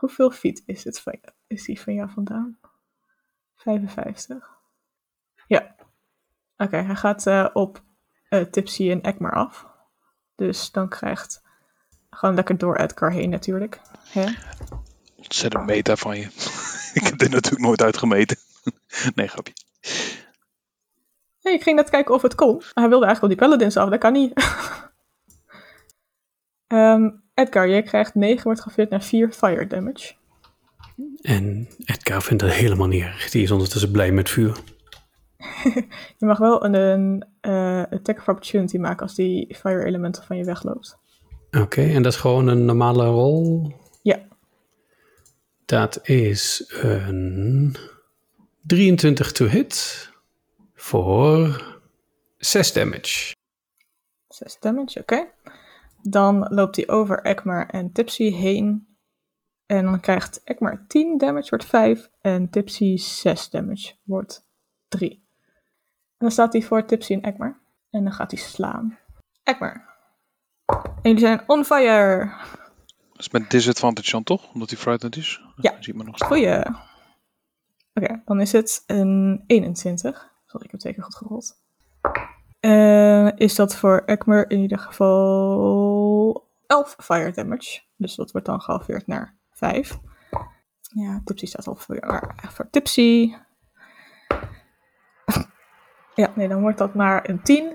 B: Hoeveel feet is, het van, is die van jou vandaan? 55. Ja. Oké, hij gaat eh, op eh, Tipsy en Ekmar af. Dus dan krijgt... Gewoon lekker door Edgar heen natuurlijk. Hè? Ah.
G: Ontzettend meta van je. ik heb dit natuurlijk nooit uitgemeten. nee, grapje.
B: Nee, ik ging net kijken of het kon. Hij wilde eigenlijk op die paladins af, dat kan niet. Ehm, Edgar, jij krijgt 9, wordt geveerd naar 4 fire damage.
F: En Edgar vindt dat helemaal niet erg. Die is ondertussen blij met vuur.
B: Je mag wel een, een eh, attack of opportunity maken als die fire elemental van je wegloopt.
F: Oké, en dat is gewoon een normale rol.
B: Ja,
F: Dat is een 23 to hit voor 6 damage.
B: 6 damage, oké. Dan loopt hij over Ekmar en Tipsy heen. En dan krijgt Ekmar 10 damage, wordt 5. En Tipsy 6 damage, wordt 3. En dan staat hij voor Tipsy en Ekmar. En dan gaat hij slaan. Ekmar. En jullie zijn on fire.
G: Dat is met disadvantage dan toch? Omdat hij frightened is?
B: Ja.
G: Ziet maar nog steeds.
B: Goeie. Oké, dan is het een 21. Sorry, ik heb twee keer goed gerold. Eh, is dat voor Ekmer in ieder geval 11 fire damage. Dus dat wordt dan gehalveerd naar 5. Ja, Tipsy staat al voor, maar voor Tipsy. Ja, nee, dan wordt dat maar een 10.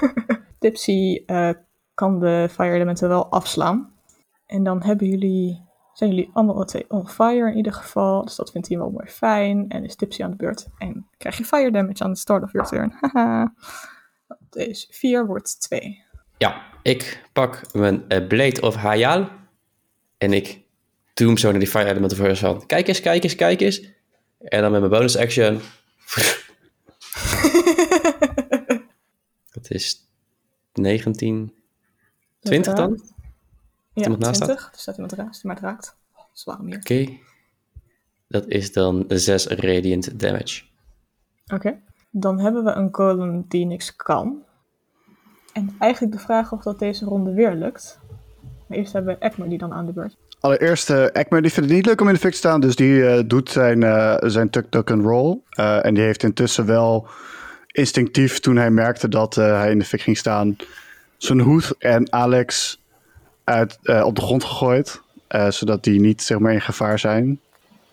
B: tipsy eh, kan de fire elementen wel afslaan. En dan hebben jullie zijn jullie allemaal twee on fire in ieder geval. Dus dat vindt hij wel mooi fijn. En is Tipsy aan de beurt. En krijg je fire damage aan het start of your turn. Haha. Dat is 4 wordt 2.
D: Ja, ik pak mijn eh, Blade of Hayal en ik doe hem zo naar die Fire Elemental voor hand. Kijk eens, kijk eens, kijk eens. En dan met mijn bonus action. Dat is 19, 20 dan? Oké.
B: Ja,
D: iemand naast
B: 20. Dus staat iemand raast, maar het raakt. Zware meer.
D: Dat is dan 6 radiant damage.
B: Oké. Dan hebben we een golem die niks kan. En eigenlijk de vraag of dat deze ronde weer lukt. Maar eerst hebben we Ekmer die dan aan de beurt.
H: Allereerst, eh Ekmer die vindt het niet leuk om in de fik te staan. Dus die eh, doet zijn, eh, zijn tuk tuk and roll. Eh, en die heeft intussen wel instinctief, toen hij merkte dat eh, hij in de fik ging staan, zijn hoed en Alex uit, eh, op de grond gegooid. eh, zodat die niet zeg maar, in gevaar zijn.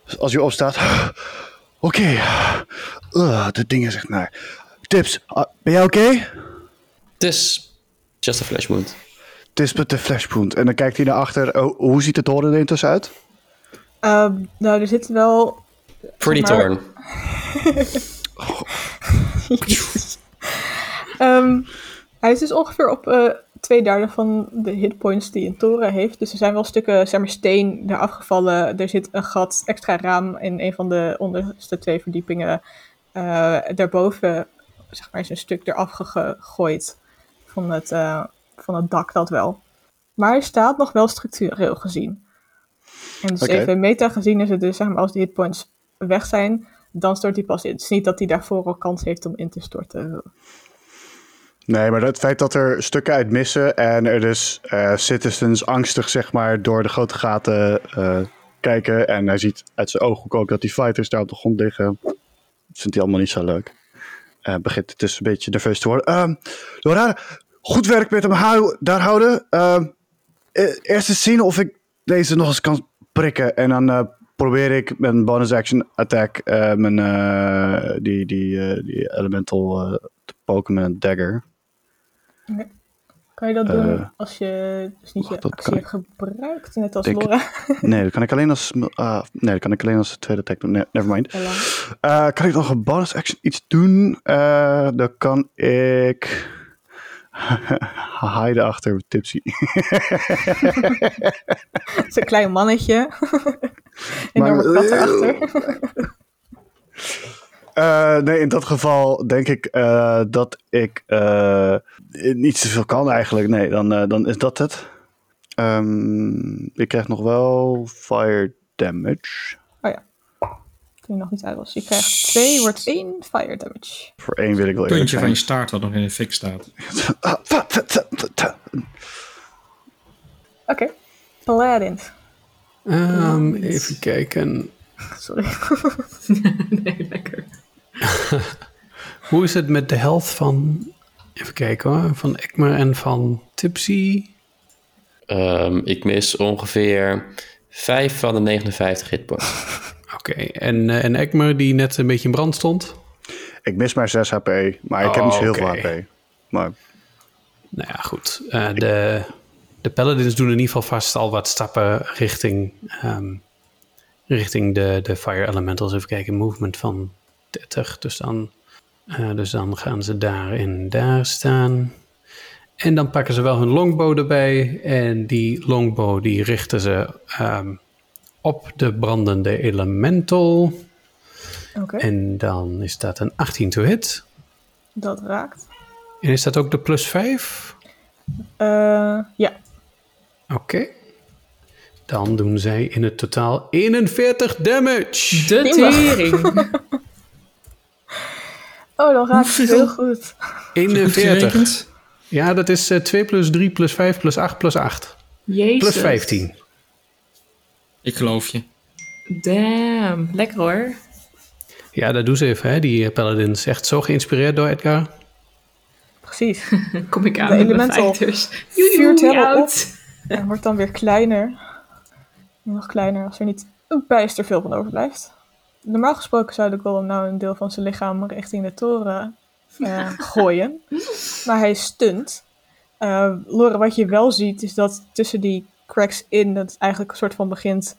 H: Dus als hij opstaat. Oké. eh, Ugh, dit ding is echt naar. Tips, ah, ben jij oké?
D: Tis, Dus, just a flash wound.
H: Tips met de flashpoint. En dan kijkt hij naar achter. Oh, hoe ziet de toren er intussen uit?
B: Ehm, nou, er zit wel...
D: Pretty
B: Maar-
D: torn.
B: Ehm, hij is dus ongeveer op eh, twee derde van de hitpoints die een toren heeft. Dus er zijn wel stukken zeg maar, steen eraf gevallen. Er zit een gat, extra raam in een van de onderste twee verdiepingen. Eh, daarboven zeg maar, is een stuk eraf ge- gegooid van het, eh, van het dak, dat wel. Maar hij staat nog wel structureel gezien. En dus
H: Oké.
B: even meta gezien is het dus, zeg maar, als die hitpoints weg zijn, dan stort hij pas in. Het is niet dat hij daarvoor al kans heeft om in te storten.
H: Nee, maar het feit dat er stukken uit missen en er dus eh, citizens angstig zeg maar door de grote gaten eh, kijken en hij ziet uit zijn ooghoek ook dat die fighters daar op de grond liggen, dat vindt hij allemaal niet zo leuk. Eh begint het dus een beetje nerveus te worden. Ehm Laura, goed werk met hem hou- daar houden. Ehm, eh, eerst eens zien of ik deze nog eens kan prikken en dan eh, probeer ik met een bonus action attack eh, mijn, eh, die, die, eh, die elemental eh, te poken met een dagger.
B: Kan je dat
H: Eh,
B: doen als je dus niet
H: wacht,
B: je
H: dat
B: actie
H: kan
B: hebt gebruikt, net als
H: Denk-
B: Laura?
H: Nee, dat kan ik alleen als. ah, nee, dat kan ik alleen als tweede attack doen. Nee, never mind.
B: Ella.
H: Eh, kan ik nog een bonus action iets doen? Eh, dan kan ik. Hide achter Tipsy.
B: Het is een klein mannetje.
H: Maar-
B: Enorme kat erachter.
H: Eh, nee, in dat geval denk ik eh, dat ik eh, niet zoveel kan eigenlijk. Nee, dan, eh, dan is dat het. Ehm, ik krijg nog wel fire damage.
B: Oh Toen je nog niet uit was. Je krijgt 2, wordt 1 fire damage.
H: Voor één wil ik wel eerlijk
C: Puntje van je
H: zijn.
C: staart wat nog in de fik staat.
H: Ah, fa- fa- fa- fa- fa-
B: Oké. Paladin.
F: Ehm, even kijken.
B: Sorry.
E: nee, lekker.
F: Hoe is het met de health van... Even kijken hoor. Van Ekmer en van Tipsy.
D: Ehm, ik mis ongeveer 5 van de 59 hitpoints.
F: Oké. En, eh, en Ekmer die net een beetje in brand stond.
H: Ik mis maar 6 HP, maar ik heb
C: Oh,
H: niet zo heel
F: Oké.
H: veel HP. Maar
F: Nou ja, goed. Eh, de, de paladins doen in ieder geval vast al wat stappen richting, ehm, richting de, de fire elementals. Even kijken, movement van 30. Dus dan, eh, dus dan gaan ze daar en daar staan. En dan pakken ze wel hun longbow erbij. En die longbow die richten ze ehm, op de brandende elemental.
B: Oké,
F: En dan is dat een 18 to hit.
B: dat raakt.
F: En is dat ook de plus 5?
B: Eh, ja,
F: Oké. Dan doen zij in het totaal 41 damage.
E: De tering.
B: Oh, dan raakt het
C: Hoeveel?
B: heel goed.
C: Goed
F: 41.
C: gerekend.
F: Ja, dat is eh, 2 plus 3 plus 5 plus 8 plus 8.
E: Jezus.
F: Plus 15.
C: Ik geloof je.
E: Damn. Lekker hoor.
F: Ja, dat doen ze even, hè, die eh, paladins. Echt zo geïnspireerd door Edgar.
B: Precies.
E: Dan kom ik aan
B: De
E: met mijn
B: elemental
E: fighters.
B: vuurt
E: Joejoe,
B: helemaal
E: out.
B: En wordt dan weer kleiner. Nog kleiner als er niet een bijster veel van overblijft. Normaal gesproken zou de golem nou een deel van zijn lichaam richting de toren eh, gooien. Maar hij is stunt. Eh Lore, wat je wel ziet is dat tussen die cracks in dat het eigenlijk een soort van begint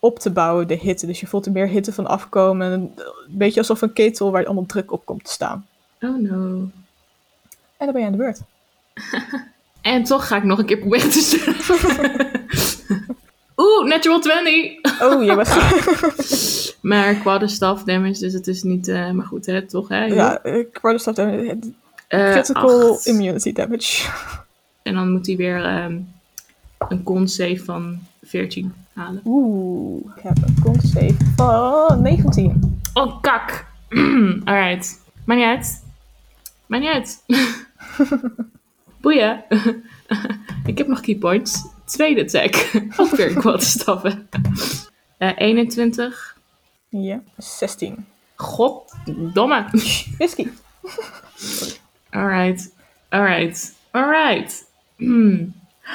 B: op te bouwen, de hitte. Dus je voelt er meer hitte van afkomen. Een beetje alsof een ketel waar allemaal druk op komt te staan.
E: Oh no.
B: En dan ben je aan de beurt.
E: En toch ga ik nog een keer proberen te staan. Oeh, natural 20.
B: Oh, je bent...
E: Maar qua de staff damage, dus het is niet... eh, maar goed, hè, toch hè?
B: ja, eh, quarterstaff damage.
E: Eh,
B: Critical
E: acht.
B: immunity damage.
E: En dan moet hij weer ehm, een con save van 14 halen.
B: Oeh, ik heb een con save van 19.
E: Oh, kak! Alright. Maakt niet uit. Maakt niet uit. Boeien. ik heb nog keypoints. Tweede attack. Ook weer quad stappen. Eh 21.
B: Ja, 16.
E: Goddomme.
B: Whisky.
E: Alright. Alright. Alright. Hmm.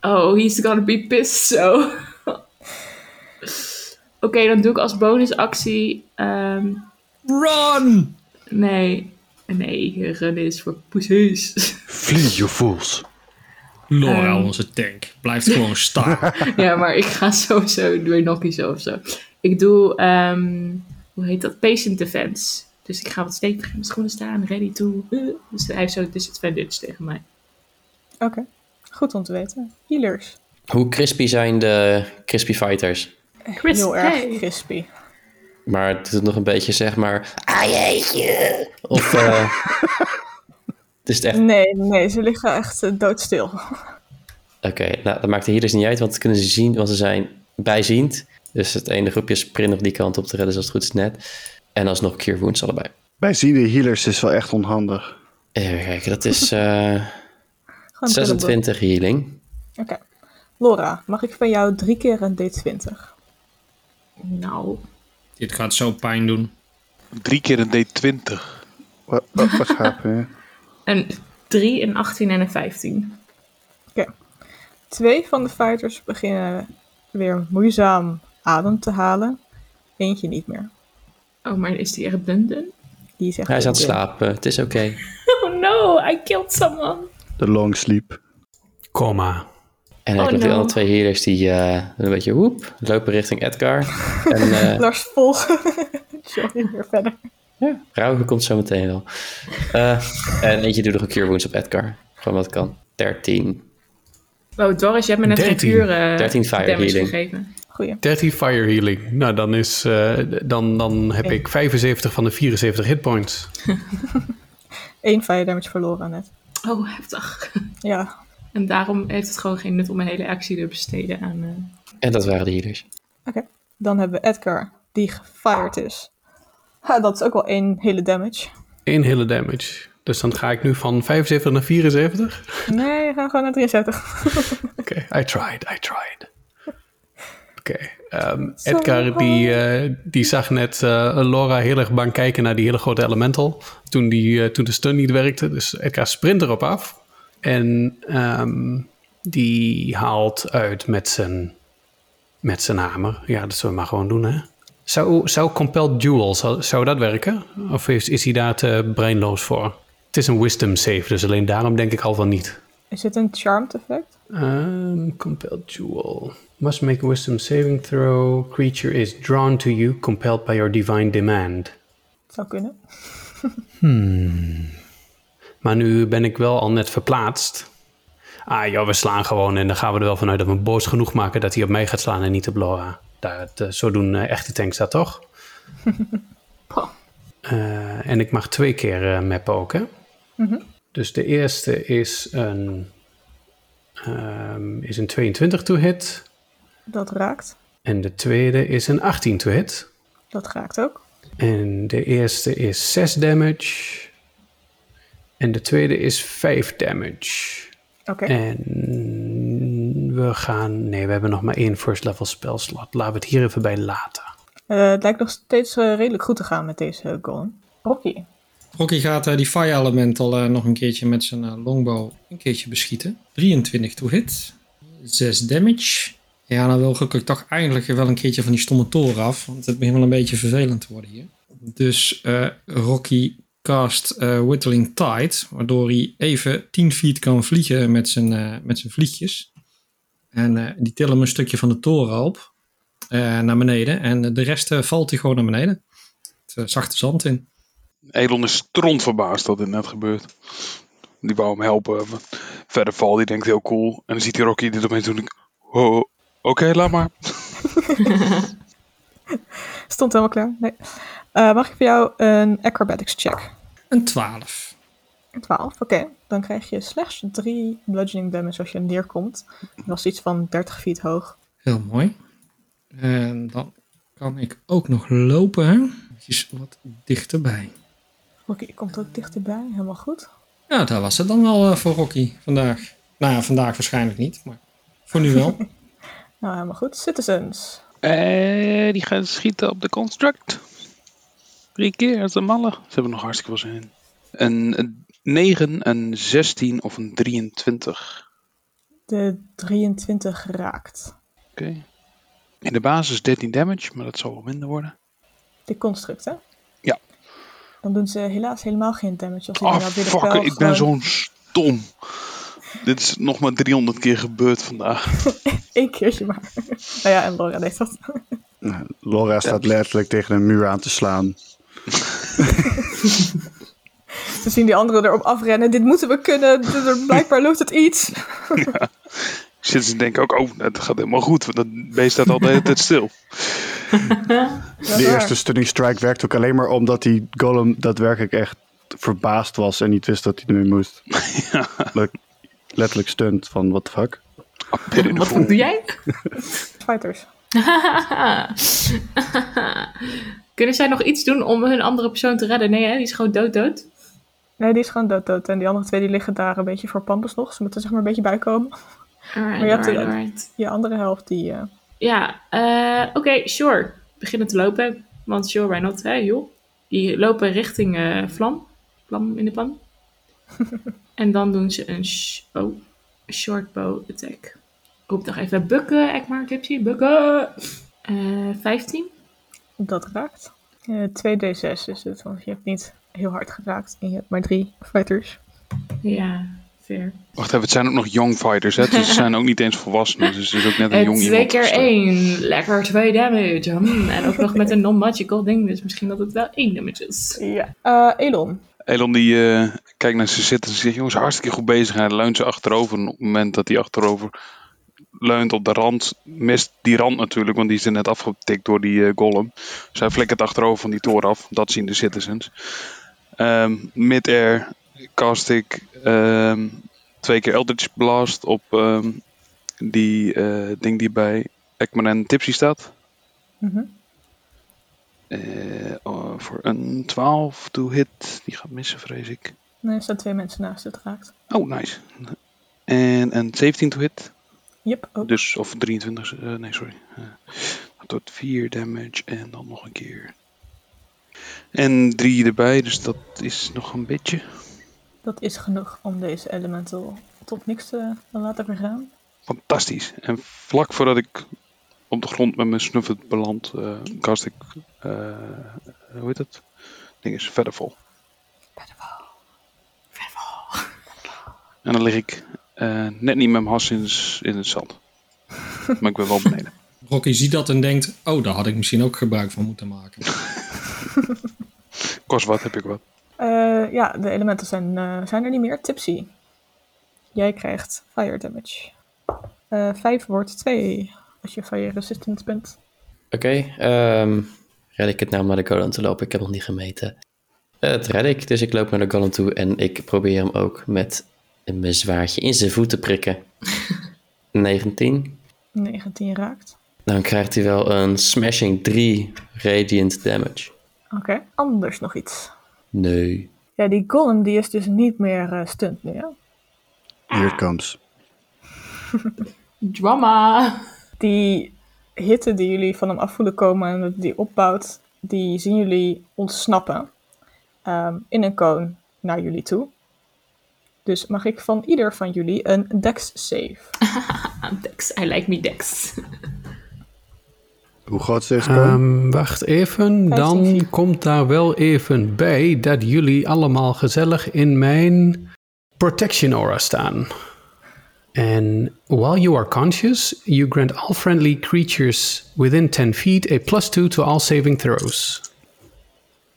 E: oh, he's gonna be pissed so. Oké, dan doe ik als bonusactie... ehm,
C: Run!
E: nee. Nee, rennen is voor poesies.
H: Vlieg, je fools.
C: Laura,
E: Ehm.
C: onze tank, blijft gewoon staan.
E: ja, maar ik ga sowieso door Nokkie of zo. Ik doe, ehm, hoe heet dat? Patient defense. Dus ik ga wat stevig in mijn schoenen staan, ready to. eh. Dus hij heeft zo'n disadvantage tegen mij.
B: Oké, goed om te weten. Healers.
D: Hoe crispy zijn de crispy fighters?
E: Chris,
B: Heel erg
E: hey.
B: crispy.
D: Maar het doet nog een beetje zeg maar... Ah jeetje! Of... eh, het is het echt...
B: Nee, nee, ze liggen echt eh, doodstil.
D: Oké, nou, dat maakt de healers niet uit, want dat kunnen ze zien, want ze zijn bijziend. Dus het ene groepje sprint op die kant op te redden, zoals het goed is net. En alsnog Cure Wounds allebei.
H: Bij ziende healers is wel echt onhandig.
D: Even kijken, dat is eh,
B: Gewoon terrible.
D: 26 healing.
B: Oké. Laura, mag ik van jou drie keer een D20?
E: Nou,
C: Dit gaat zo pijn doen.
G: Drie keer een D20.
H: Wat wat gaat er?
E: een 3, een 18 en een 15.
B: Twee van de fighters beginnen weer moeizaam adem te halen. Eentje niet meer.
E: Oh, maar is die echt dun dun?
B: Die is echt
D: Hij is aan het
B: heel dun.
D: slapen, het is oké.
E: Oh no, I killed someone.
H: De long sleep.
F: Comma.
D: En dan
E: Oh,
D: heb ik de
E: no.
D: andere twee healers die eh, een beetje woep, lopen richting Edgar. en eh
B: Lars, volg. Sorry, weer verder.
D: Rauwe komt zo meteen wel. Eh, en eentje doet nog een Cure Wounds op Edgar. Gewoon wat kan. 13.
E: Oh, Doris, je hebt me net
F: 13.
E: geen uren eh,
D: 13 fire
E: damage
D: healing.
E: gegeven.
B: Goeie.
F: 30 fire healing. Nou, dan, is, eh, dan, dan heb
B: Oké.
F: ik 75 van de 74 hitpoints.
B: Eén fire damage verloren net.
E: Oh, heftig.
B: Ja.
E: En daarom heeft het gewoon geen nut om mijn hele actie te besteden aan... eh,
D: En dat waren de healers.
B: Oké. Dan hebben we Edgar, die gefired is. Ha, dat is ook wel één hele damage.
F: Eén hele damage. Dus dan ga ik nu van 75 naar 74.
B: Nee, we gaan gewoon naar 73.
F: Oké, I tried, I tried. Oké, ehm,
B: Sorry,
F: Edgar die, eh, die zag net eh, Laura heel erg bang kijken naar die hele grote elemental. Toen, die, eh, toen de stun niet werkte. Dus Edgar sprint erop af. En ehm, die haalt uit met zijn, met zijn hamer. Ja, dat zullen we maar gewoon doen hè. Zou, zou Compelled Duel, zou, zou dat werken? Of is, is hij daar te breinloos voor? Het is een wisdom save, dus alleen daarom denk ik al van niet.
B: Is dit een charmed effect?
F: Um, compelled jewel. Must make a wisdom saving throw. Creature is drawn to you, compelled by your divine demand.
B: Zou kunnen.
F: Maar nu ben ik wel al net verplaatst. Ah joh, we slaan gewoon en dan gaan we er wel vanuit dat we hem boos genoeg maken dat hij op mij gaat slaan en niet op Laura. Daar, het, eh, zo doen eh, echte tanks dat toch?
B: Poh.
F: Eh, en ik mag twee keer eh, mappen ook, hè? Dus de eerste is een, ehm, is een 22 to hit.
B: Dat raakt.
F: En de tweede is een 18 to hit.
B: Dat raakt ook.
F: En de eerste is 6 damage. En de tweede is 5 damage.
B: Oké.
F: En we gaan. Nee, we hebben nog maar één first level spelslot. Laten we het hier even bij laten.
B: Eh, het lijkt nog steeds eh, redelijk goed te gaan met deze golem. Rocky.
C: Rocky gaat eh, die Fire Elemental eh, nog een keertje met zijn eh, longbow een keertje beschieten. 23 to hit. 6 damage. Ja, dan wil ik toch eindelijk wel een keertje van die stomme toren af. Want het begint wel een beetje vervelend te worden hier. Dus eh, Rocky cast eh, Whittling Tide. Waardoor hij even 10 feet kan vliegen met zijn, eh, met zijn vliegjes. En eh, die tillen hem een stukje van de toren op. eh, naar beneden. En de rest eh, valt hij gewoon naar beneden. Het eh, zachte zand in.
G: Elon is stront verbaasd dat dit net gebeurt. Die wou hem helpen. maar Verder val, die denkt heel cool. En dan ziet hij Rocky dit opeens doen. Ik, oh, oké, laat maar.
B: Stond helemaal klaar. Nee. Eh, mag ik voor jou een acrobatics check?
C: Een 12.
B: 12, oké. dan krijg je slechts 3 bludgeoning damage als je neerkomt. Dat was iets van 30 feet hoog.
C: Heel mooi. En dan kan ik ook nog lopen. hè. Eventjes wat dichterbij.
B: Rocky komt ook dichterbij, helemaal goed.
C: Ja, dat was het dan wel eh, voor Rocky vandaag. Nou ja, vandaag waarschijnlijk niet, maar voor nu wel.
B: Nou, helemaal goed. Citizens.
G: Eh, die gaan schieten op de construct. Drie keer als de malle. Ze hebben nog hartstikke veel zin in. Een, een 9, een 16 of een 23.
B: De 23 raakt.
G: Oké. In de basis 13 damage, maar dat zal wel minder worden.
B: De construct, hè?
G: Ja.
B: Dan doen ze helaas helemaal geen damage. Als
G: Ah,
B: oh, nou weer de
G: fuck,
B: pijl
G: ik ben
B: gewoon
G: zo'n stom. Dit is nog maar 300 keer gebeurd vandaag.
B: één keertje maar. nou ja, en Laura deed dat.
H: Nou, Laura staat letterlijk tegen een muur aan te slaan.
B: Ze zien die anderen erop afrennen. Dit moeten we kunnen. D- d- Blijkbaar loopt het iets.
G: Zitten ze denken ook, oh, het gaat helemaal goed. Want dat beest staat al de hele tijd stil.
B: Ja,
H: De
B: waar.
H: eerste stunning strike werkt ook alleen maar omdat die golem daadwerkelijk echt verbaasd was en niet wist dat hij ermee moest. Le- Letterlijk stunt van what the fuck.
E: Wat doe jij?
B: Fighters.
E: Kunnen zij nog iets doen om hun andere persoon te redden? Nee, hè? die is gewoon dood, dood.
B: Nee, die is gewoon dood dood. En die andere twee die liggen daar een beetje voor panders nog. Ze moeten zeg maar een beetje bijkomen.
E: Alright,
B: Maar je hebt
E: alright,
B: er-
E: alright.
B: Je andere helft die... eh,
E: Ja, eh, oké, sure. Beginnen te lopen. Want sure, why not, hè, joh. Die lopen richting eh, vlam. Vlam in de pan. en dan doen ze een, sh- oh, een short bow attack. Roep nog even bukken, Ekmar, Tipsy, bukken. Eh 15.
B: Dat raakt. Eh, 2d6 is het, want je hebt niet heel hard geraakt. En je hebt maar drie fighters.
E: Ja, fair.
G: Wacht even, het zijn ook nog young fighters. Hè? Dus ze zijn ook niet eens volwassenen. Dus het is ook net een
E: Eh,
G: jong
E: twee
G: iemand.
E: keer
G: Dus, eh,
E: één. Lekker twee damage. Hmm, En ook nog met een non-magical ding. Dus misschien dat het wel één damage is.
B: Ja. Eh, Elon.
G: Elon die eh, kijkt naar ze zitten en zegt, jongens, hartstikke goed bezig. En hij leunt ze achterover. En op het moment dat hij achterover leunt op de rand, mist die rand natuurlijk, want die is er net afgetikt door die eh, golem. Dus hij flikkert achterover van die toren af. Dat zien de citizens. Ehm Mid-air cast ik ehm, twee keer Eldritch Blast op ehm, die eh, ding die bij Ekman en Tipsy staat.
B: Mhm.
G: Eh, oh, voor een 12 to hit. Die gaat missen, vrees ik.
B: Nee, er staan twee mensen naast het raakt.
G: Oh, nice. En een 17 to hit.
B: Yep, ook.
G: Dus, of 23, eh, nee, sorry. Eh, tot 4 damage en dan nog een keer. En 3 erbij, dus dat is nog een beetje.
B: Dat is genoeg om deze elemental tot niks te laten vergaan.
G: Fantastisch. En vlak voordat ik op de grond met mijn snuffert beland, eh kast ik. eh, hoe heet dat? Ding is verder vol. En dan lig ik eh, net niet met mijn has in, s- in het zand. maar ik ben wel beneden.
C: Rocky ziet dat en denkt, oh, daar had ik misschien ook gebruik van moeten maken.
G: Kost wat, heb ik wat.
B: Eh, ja, de elementen zijn, eh, zijn er niet meer. Tipsy. Jij krijgt fire damage. Eh 5 wordt 2 als je fire resistant bent.
D: Oké, ehm, red ik het nou om naar de golem te lopen? Ik heb nog niet gemeten. Eh, Het red ik, dus ik loop naar de golem toe en ik probeer hem ook met mijn zwaardje in zijn voet te prikken. 19.
B: 19 raakt.
D: Dan krijgt hij wel een smashing 3 radiant damage.
B: Oké, anders nog iets.
D: Nee.
B: Ja, die golem die is dus niet meer eh stunt nu, hè?
H: Here it comes.
E: Drama.
B: Die hitte die jullie van hem af voelen komen en dat die opbouwt, die zien jullie ontsnappen ehm, in een koon naar jullie toe. Dus mag ik van ieder van jullie een dex save?
E: I'm Dex. I like me Dex.
H: Hoe groot is deze koning?
F: Ehm, wacht even, dan
B: Vijftien.
F: komt daar wel even bij dat jullie allemaal gezellig in mijn protection aura staan. En while you are conscious, you grant all friendly creatures within 10 feet a plus 2 to all saving throws.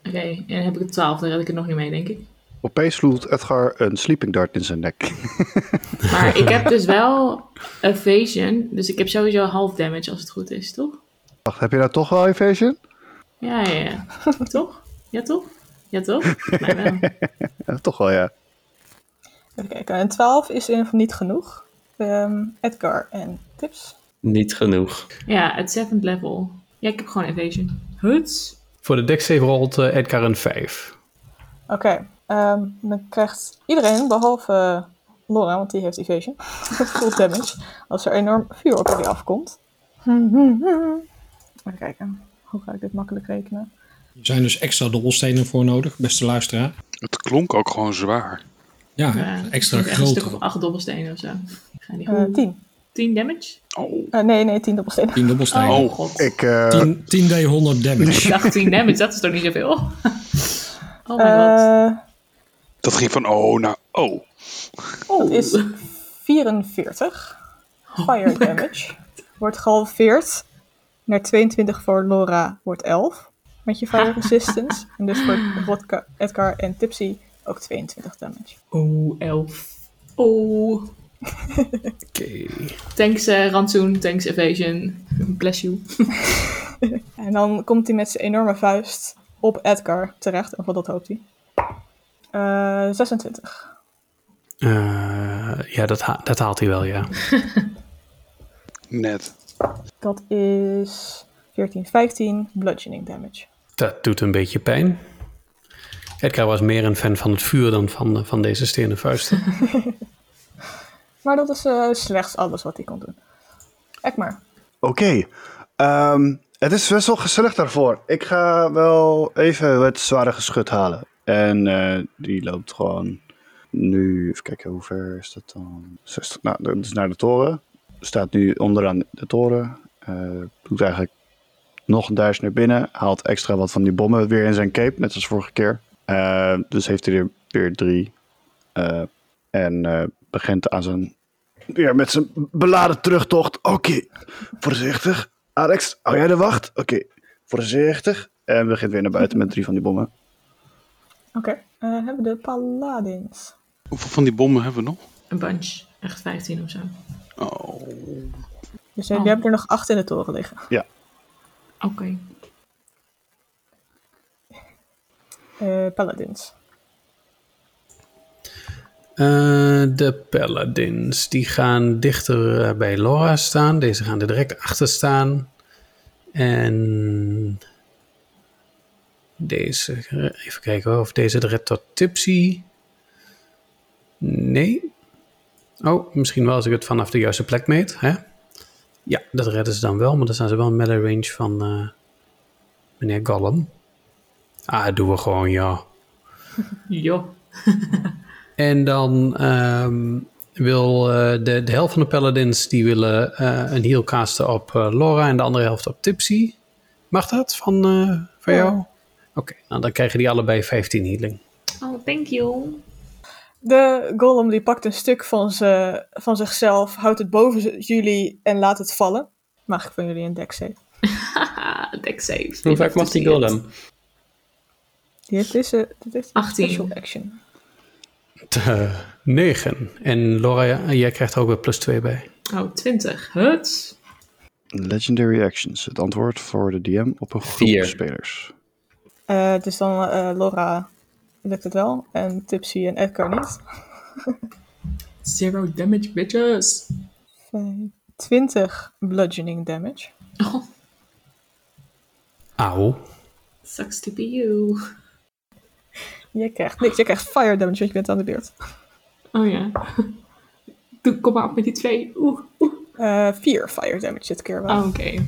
E: Oké, en dan heb ik het 12, dan red ik het nog niet mee, denk ik.
H: Opeens sloeg Edgar een sleeping dart in zijn nek.
E: Maar ik heb dus wel evasion, dus ik heb sowieso half damage als het goed is, toch?
H: Wacht, heb je nou toch wel evasion?
E: Ja, ja, ja. toch? Ja, toch? Ja, toch? Mij Nou, wel.
H: Ja, toch wel, ja.
B: Even kijken. Een 12 is in ieder geval niet genoeg. Ehm, Edgar en tips.
D: Niet genoeg.
E: Ja, het seventh level. Ja, ik heb gewoon evasion. Huts.
F: Voor de deck save rolt eh, Edgar een 5.
B: Oké, ehm, dan krijgt iedereen, behalve eh, Laura, want die heeft evasion, full damage. Als er enorm vuur op jullie afkomt. Even kijken, hoe ga ik dit makkelijk rekenen?
C: Er zijn dus extra dobbelstenen voor nodig, beste luisteraar.
G: Het klonk ook gewoon zwaar.
C: Ja,
E: Ja,
C: extra
E: echt Een stuk
C: groot.
E: of acht dobbelstenen of zo. Ik ga niet
B: Eh
E: goed.
B: 10.
E: 10 damage?
G: Oh,
B: Eh, nee, nee, 10 dobbelstenen.
C: 10 dobbelstenen.
G: Oh.
E: god.
H: Ik, eh,
C: 10, 10d 100
E: Ik
C: damage.
E: dacht 10 damage, dat is toch niet zoveel? Oh mijn god.
B: Eh,
G: dat ging van oh naar oh.
B: dat is 44. Fire damage. Wordt gehalveerd naar 22 voor Laura, wordt 11. Met je fire resistance. En dus voor Rodka, Edgar en Tipsy ook 22 damage.
E: Oh, 11. Oh.
F: Oké.
E: Thanks eh, Rantsoen, thanks Evasion. Bless you.
B: En dan komt hij met zijn enorme vuist op Edgar terecht. Of wat dat hoopt hij. Eh, 26.
F: Eh, ja, dat, ha- dat haalt hij wel, ja.
G: Net.
B: Dat is 14, 15 bludgeoning damage.
F: Dat doet een beetje pijn. Edgar was meer een fan van het vuur dan van, eh, van deze stenen vuisten.
B: Maar dat is eh, slechts alles wat hij kon doen. Ekmar.
H: Oké. Ehm, het is best wel gezellig daarvoor. Ik ga wel even het zware geschut halen. En eh, die loopt gewoon nu. Even kijken, hoe ver is dat dan? 60. Nou, dat is naar de toren. Staat nu onderaan de toren. Eh, doet eigenlijk nog een duizend naar binnen. Haalt extra wat van die bommen weer in zijn cape, net als vorige keer. Eh, dus heeft hij er weer drie. Eh, en eh, begint aan zijn. Weer met zijn beladen terugtocht. Oké, Voorzichtig. Alex, hou jij de wacht? Oké, voorzichtig. En begint weer naar buiten met drie van die bommen.
B: Oké. Eh, hebben we de paladins.
G: Hoeveel van die bommen hebben we nog?
E: Een bunch. Echt 15 of zo. Oké.
G: Oh.
B: Dus jij
E: Oh.
B: jij hebt er nog acht in de toren liggen. Eh, paladins.
F: Eh, de paladins, die gaan dichter eh, bij Laura staan. Deze gaan er direct achter staan. En deze, eh, even kijken hoor, of deze de redt tot Tipsy. Nee. Oh, misschien wel als ik het vanaf de juiste plek meet. Hè? Ja, dat redden ze dan wel, maar dan staan ze wel in melee range van eh, meneer Gollum. Ah, dat doen we gewoon, ja.
E: Jo.
F: En dan ehm, wil eh, de, de helft van de paladins die willen eh, een heal casten op eh, Laura en de andere helft op Tipsy. Mag dat van, eh, van jou? Oké, nou dan krijgen die allebei 15 healing.
E: Oh, thank you.
B: De golem die pakt een stuk van, ze, van zichzelf, houdt het boven z- jullie en laat het vallen. Mag ik van jullie een deck save?
E: Haha, Ah, deck saves.
D: Hoe vaak mag die golem?
B: Die heeft deze, dit heeft
E: 18.
B: special action.
F: 9. Eh, En Laura, ja, jij krijgt er ook weer plus 2 bij.
E: Oh, 20. Huts.
H: Legendary actions. Het antwoord voor de DM op een groep
D: Vier.
H: spelers.
B: Eh, dus dan eh, Laura lukt het wel en Tipsy en Edgar niet.
E: Zero damage, bitches.
B: Vijf- 20 bludgeoning damage.
E: Oh,
F: Auw.
E: sucks to be you.
B: Je krijgt niks, je krijgt fire damage, want je bent aan de beurt.
E: Oh ja. Doe, kom maar op met die twee. Oeh, oeh.
B: Eh 4 fire damage dit keer wel.
E: Oh, oké.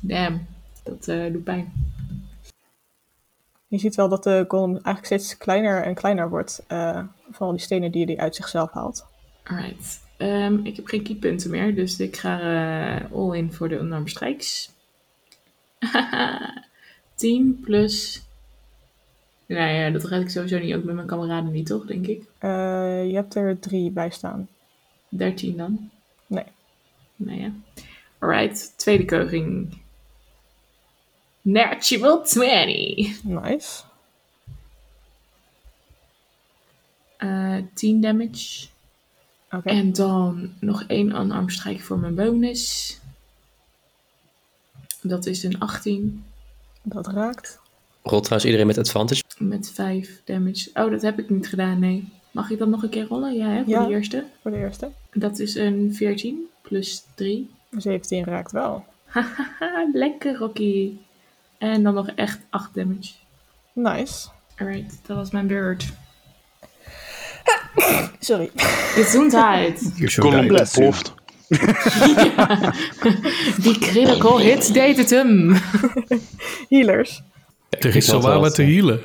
E: Damn. Dat eh, doet pijn.
B: Je ziet wel dat de golem eigenlijk steeds kleiner en kleiner wordt. eh, van al die stenen die hij uit zichzelf haalt.
E: Alright. Ehm, ik heb geen keypunten meer, dus ik ga eh, all in voor de unarmed strikes. 10 plus. Nou ja, dat red ik sowieso niet, ook met mijn kameraden niet, toch, denk ik?
B: Eh, je hebt er drie bij staan.
E: 13 dan?
B: Nee.
E: Nou ja. Alright, tweede keuring. Natural 20.
B: Nice.
E: Eh 10 damage.
B: Oké.
E: En dan nog één unarmed strike voor mijn bonus. Dat is een 18.
B: Dat raakt.
D: Rolt trouwens iedereen met advantage.
E: Met 5 damage. Oh, dat heb ik niet gedaan, nee. Mag ik dat nog een keer rollen? Ja, hè, voor
B: Ja.
E: de eerste.
B: voor de eerste.
E: Dat is een 14 plus 3.
B: 17 raakt wel.
E: Hahaha, lekker Rocky. En dan nog echt 8 damage.
B: Nice.
E: Alright, dat was mijn beurt.
B: Sorry.
E: Gezondheid.
G: Column
H: die-
G: ontploft.
E: Die critical hit deed het hem.
B: Healers.
F: Er is zo waar wat te healen.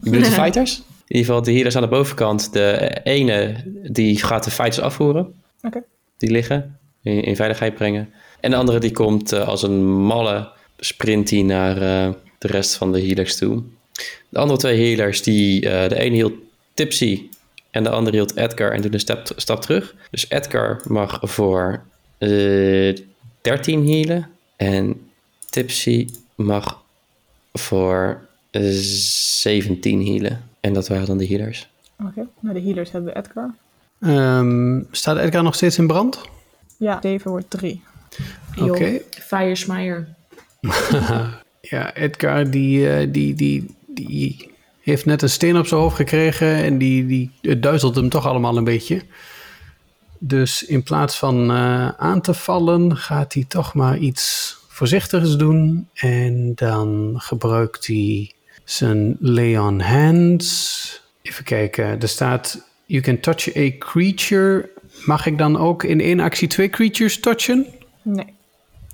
D: Bedoel je de fighters? In ieder geval, de healers aan de bovenkant. De ene die gaat de fighters afvoeren.
B: Oké.
D: Die liggen. In, in veiligheid brengen. En de andere die komt eh, als een malle sprint die naar eh, de rest van de healers toe. De andere twee healers, die, eh, de ene hield Tipsy en de andere hield Edgar en doet een stap, stap terug. Dus Edgar mag voor eh 13 healen en Tipsy mag voor eh, 17 healen. En dat waren dan de healers.
B: Oké, nou de healers hebben we Edgar.
F: Ehm, staat Edgar nog steeds in brand?
B: Ja, Dave wordt 3.
F: Oké.
E: Firesmire.
F: Ja, Edgar die, eh, die, die, die heeft net een steen op zijn hoofd gekregen en die, die, het duizelt hem toch allemaal een beetje. Dus in plaats van eh, aan te vallen, gaat hij toch maar iets voorzichtigs doen. En dan gebruikt hij zijn lay on hands. Even kijken, er staat: You can touch a creature. Mag ik dan ook in één actie twee creatures touchen?
B: Nee,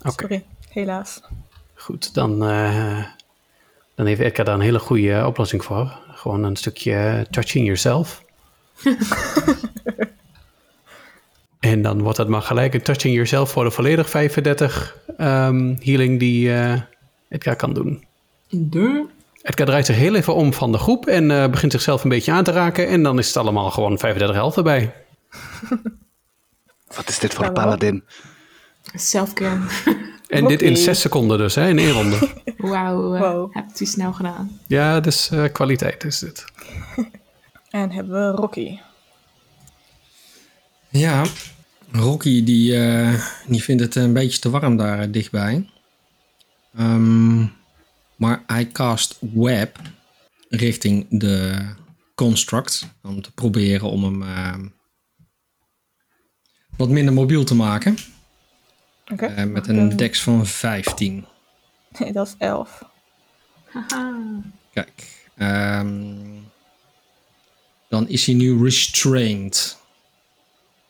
F: Oké.
B: sorry. Helaas.
F: Goed, dan, eh, dan heeft Edgar daar een hele goede eh, oplossing voor. Gewoon een stukje eh, touching yourself. en dan wordt dat maar gelijk een touching yourself voor de volledig 35 ehm, healing die eh, Edgar kan doen.
E: De.
F: Edgar draait zich heel even om van de groep en eh, begint zichzelf een beetje aan te raken. En dan is het allemaal gewoon 35 helft erbij.
H: Wat is dit voor een
B: Jawel.
H: paladin?
E: Selfcare.
F: En dit in
B: Oké.
F: 6 seconden dus, hè, in één ronde.
E: Wauw, eh,
B: Wow.
E: heb het u snel gedaan.
F: ja, dus eh, kwaliteit is dit.
B: En hebben we Rocky.
C: Ja, Rocky die, eh, die vindt het een beetje te warm daar eh, dichtbij. Ehm, maar hij cast web richting de construct. Om te proberen om hem eh, wat minder mobiel te maken.
B: Oké,
C: Eh, met een dex van 15.
B: Nee, dat is 11.
E: Haha.
C: Kijk. ehm, dan is hij nu restrained.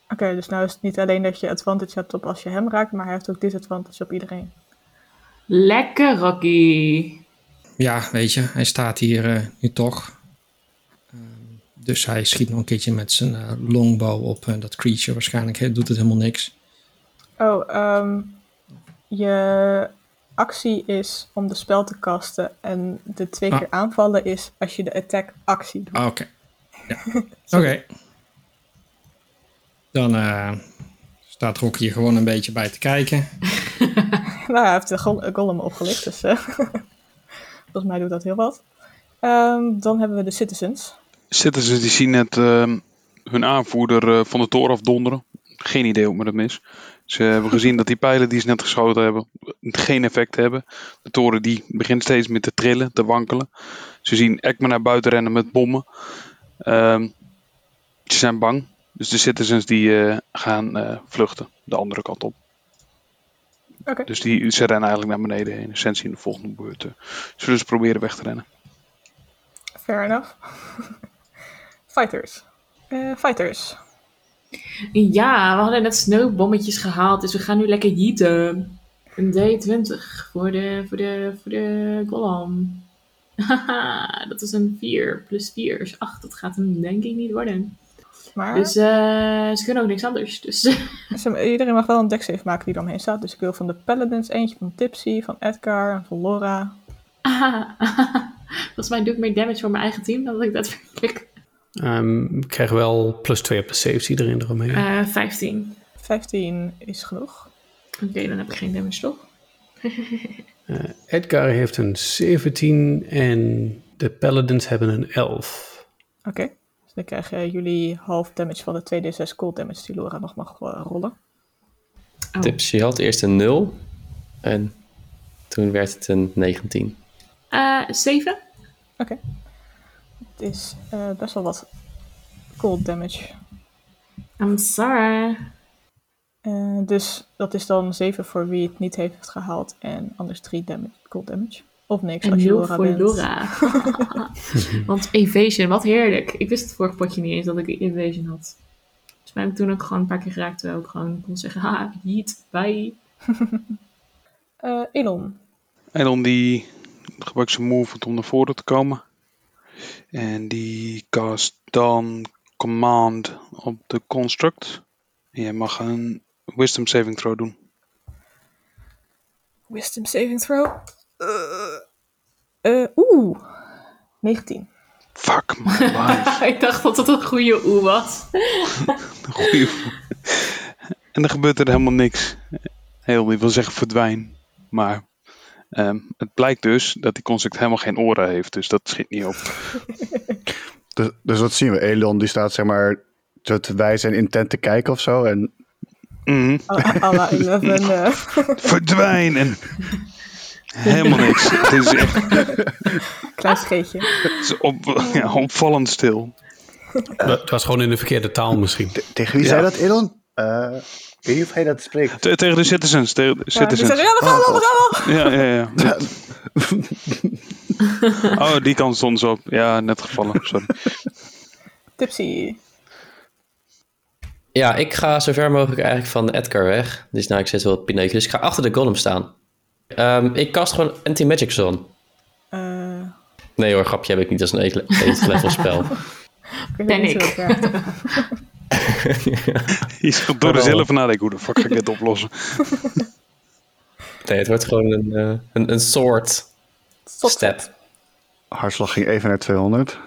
B: Oké, dus nou is het niet alleen dat je advantage hebt op als je hem raakt, maar hij heeft ook disadvantage op iedereen.
E: Lekker Rocky.
C: Ja, weet je, hij staat hier eh, nu toch. Ehm, dus hij schiet nog een keertje met zijn eh, longbow op eh, dat creature. Waarschijnlijk hè, doet het helemaal niks.
B: Oh, ehm, je actie is om de spel te kasten en de twee
C: Ah.
B: keer aanvallen is als je de attack actie doet.
C: Ah, Oké. Ja. Oké. Dan eh, staat Rocky hier gewoon een beetje bij te kijken.
B: Nou, hij heeft de gol- golem opgelicht, dus eh, volgens mij doet dat heel wat. Ehm, dan hebben we de citizens.
G: Zitten ze, die zien net ehm, hun aanvoerder eh, van de toren af donderen. Geen idee hoe me dat mis. Ze hebben gezien dat die pijlen die ze net geschoten hebben, geen effect hebben. De toren die begint steeds meer te trillen, te wankelen. Ze zien Ekman naar buiten rennen met bommen. Ehm, ze zijn bang. Dus de citizens die eh, gaan eh, vluchten, de andere kant op.
B: Oké.
G: Dus die, ze rennen eigenlijk naar beneden heen. Zijn ze in de volgende beurt. eh, zullen ze proberen weg te rennen.
B: Fair enough. fighters. Eh, fighters.
E: Ja, we hadden net sneeuwbommetjes gehaald, dus we gaan nu lekker jieten. Een D20 voor de, voor de, voor de golem. Haha, dat is een 4 plus 4 is 8. Dat gaat hem denk ik niet worden.
B: Maar
E: Dus eh, ze kunnen ook niks anders. Dus
B: ze- iedereen mag wel een decksave maken die er omheen staat. Dus ik wil van de paladins eentje, van Tipsy, van Edgar en van Laura.
E: ah, volgens mij doe ik meer damage voor mijn eigen team dan dat ik daadwerkelijk.
F: Ehm, ik krijg wel plus 2 op de saves iedereen eromheen.
E: Eh 15.
B: 15 is genoeg.
E: Oké, dan heb ik geen damage toch?
F: Edgar heeft een 17 en de Paladins hebben een 11.
B: Oké. Dus dan krijgen jullie half damage van de 2d6 cold damage die Laura nog mag eh, rollen.
E: Oh.
D: Tipsy had eerst een 0 en toen werd het een 19.
E: Eh 7?
B: Het is eh, best wel wat. cold damage.
E: I'm sorry.
B: Eh, dus dat is dan 7 voor wie het niet heeft gehaald en anders 3 damage, cold damage. Of niks
E: En
B: als je
E: nul
B: Laura
E: voor
B: bent.
E: Laura. Want evasion, wat heerlijk. Ik wist het vorige potje niet eens dat ik evasion had. Dus mij heb ik toen ook gewoon een paar keer geraakt. Terwijl ik gewoon kon zeggen, ha, yeet, bye.
B: Eh, Elon,
G: En om die gebruikt zijn move om naar voren te komen. En die cast dan command op de construct. En jij mag een wisdom saving throw doen.
B: wisdom saving throw. Eh, eh, Oeh, 19.
G: Fuck my life.
E: ik dacht dat dat een goede oe was.
G: Een goeie voor- en dan gebeurt er helemaal niks. Heel, ik wil zeggen verdwijn. Maar ehm, het blijkt dus dat die construct helemaal geen oren heeft. Dus dat schiet niet op.
H: Dus, dus wat zien we? Elon die staat zeg maar, zodat wij zijn intent te kijken of zo. En
G: Mhm.
B: Alla 11. eh.
G: Verdwijnen! Helemaal niks. Het is echt
B: klein scheetje.
G: Het is op, ja, opvallend stil.
F: Het was gewoon in de verkeerde taal misschien.
H: tegen wie
G: Ja.
H: zei dat, Elon? Eh, ik weet niet of hij dat spreekt.
G: Te- tegen de citizens. Tegen de
B: Ja, die
G: citizens.
E: Oh,
B: zeggen, ja, we gaan wel, we gaan wel.
G: Ja, ja, ja. Oh, die kant stond ze op. Ja, net gevallen. Sorry.
B: Tipsy.
D: Ja, ik ga zo ver mogelijk eigenlijk van Edgar weg. Dus nou, ik zit wel op Pinocchio. Dus ik ga achter de golem staan. Ehm, ik cast gewoon Anti-Magic Zone.
B: Eh,
D: Nee hoor, grapje heb ik niet. Dat is een 8 level spel.
B: ik weet
E: Ben
B: niet
E: ik.
B: zo ver.
G: Je zult door de zelf nadenken. Hoe de fuck ga ik dit oplossen?
D: Nee, het wordt gewoon een, eh, een, een soort
B: Stop.
D: step.
H: Hartslag ging even naar 200.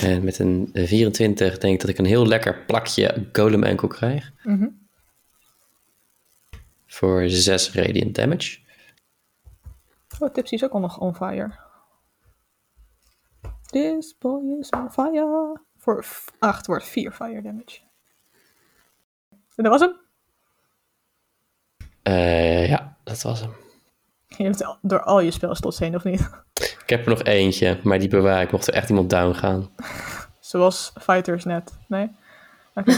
D: En met een 24 denk ik dat ik een heel lekker plakje golem enkel krijg.
B: Mhm.
D: Voor 6 radiant damage.
B: Oh, Tipsy is ook al nog on fire. This boy is on fire. Voor 8 wordt 4 fire damage. En dat was hem.
D: Eh, ja, dat was hem.
B: Je hebt al- door al je spels tot heen, of niet?
D: Ik heb er nog eentje, maar die bewaar ik. Mocht er echt iemand down gaan.
B: Zoals fighters net. Nee?
D: Het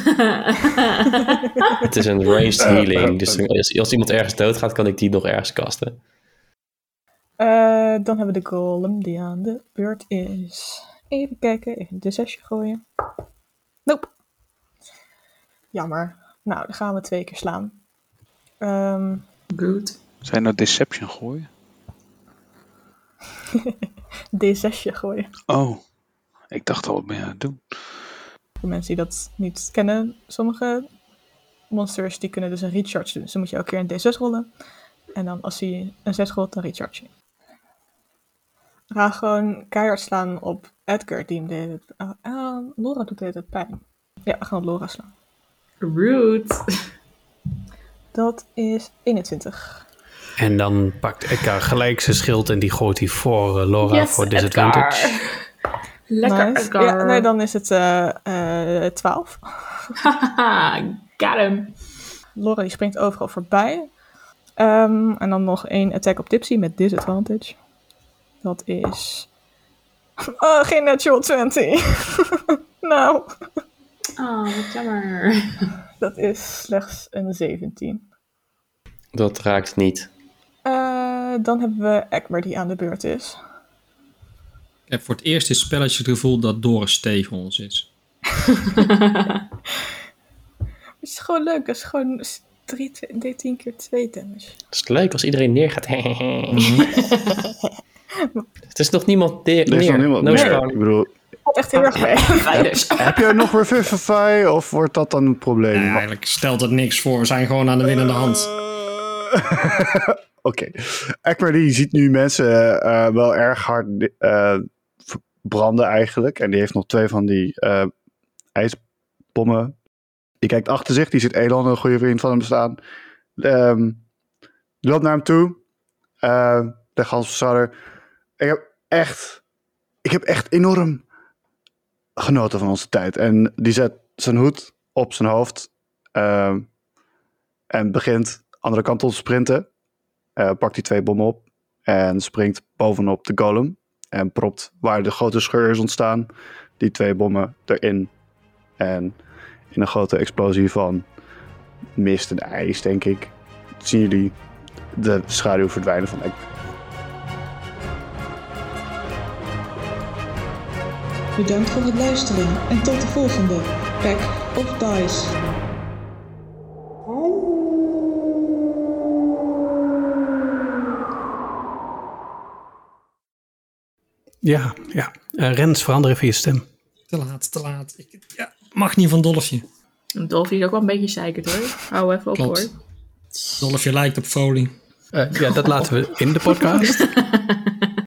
D: is een ranged healing. Dus als, als iemand ergens doodgaat, kan ik die nog ergens kasten.
B: Eh, dan hebben we de golem die aan de beurt is. Even kijken, even de zesje gooien. Nope. Jammer. Nou, dan gaan we twee keer slaan. Ehm,
E: Good.
G: Zijn nou deception gooien?
B: D6 gooien.
G: Oh. Ik dacht al, wat ben je aan het doen?
B: Voor mensen die dat niet kennen, sommige monsters die kunnen dus een recharge doen. Dus dan moet je elke keer een D6 rollen. En dan als hij een 6 rolt, dan recharge je. Ga gewoon keihard slaan op Edgar, die hem deed het. Ah, ah, Laura doet deed het pijn. Ja, we gaan op Laura slaan.
E: Rude.
B: Dat is 21.
F: En dan pakt Edgar gelijk zijn schild en die gooit hij voor eh, Laura voor disadvantage.
E: Lekker
B: Nice.
E: Edgar.
B: Ja, nee, dan is het eh, eh, 12.
E: Haha, got him.
B: Laura die springt overal voorbij. Ehm, en dan nog één attack op Tipsy met disadvantage. Dat is... Oh, geen natural 20. nou,
E: Oh, wat jammer.
B: dat is slechts een 17.
D: Dat raakt niet.
B: Eh, dan hebben we Ekmer die aan de beurt is.
C: Ik heb voor het eerst in het spelletje het gevoel dat Doris tegen ons is.
B: Het is gewoon leuk, dat is gewoon s- drie, tw- D10 keer 2 damage.
D: Dus Het is leuk als iedereen neergaat. het is nog niemand neer.
H: Er is nog
D: neer.
H: niemand
D: No
H: meer.
D: spawn.
H: Ik bedoel,
B: Valt echt heel erg mee.
H: heb je nog Revivify of wordt dat dan een probleem?
C: Nee, eigenlijk stelt het niks voor. We zijn gewoon aan de winnende hand.
H: Oké. Ekmer die ziet nu mensen eh, wel erg hard eh, branden eigenlijk. En die heeft nog twee van die eh, ijsbommen. Die kijkt achter zich. Die ziet Elon, een goede vriend van hem, staan. Ehm, die loopt naar hem toe. Eh de gansverzader. Ik heb echt... Ik heb echt enorm genoten van onze tijd. En die zet zijn hoed op zijn hoofd. ehm, en begint andere kant op te sprinten. Eh, pakt die twee bommen op en springt bovenop de golem. En propt waar de grote scheur is ontstaan, die twee bommen erin. En in een grote explosie van mist en ijs, denk ik, zien jullie de schaduw verdwijnen van Egbert.
B: Bedankt voor het luisteren en tot de volgende Pack of Dice.
F: Ja, ja. Eh, Rens, verander even je stem.
C: Te laat, te laat. Ik ja, mag niet van Dolfje.
E: Een dolfje is ook wel een beetje zeikerd hoor. Hou even op
C: Klopt.
E: hoor.
C: Dolfje lijkt op Foley.
F: Eh, ja, dat laten we in de podcast.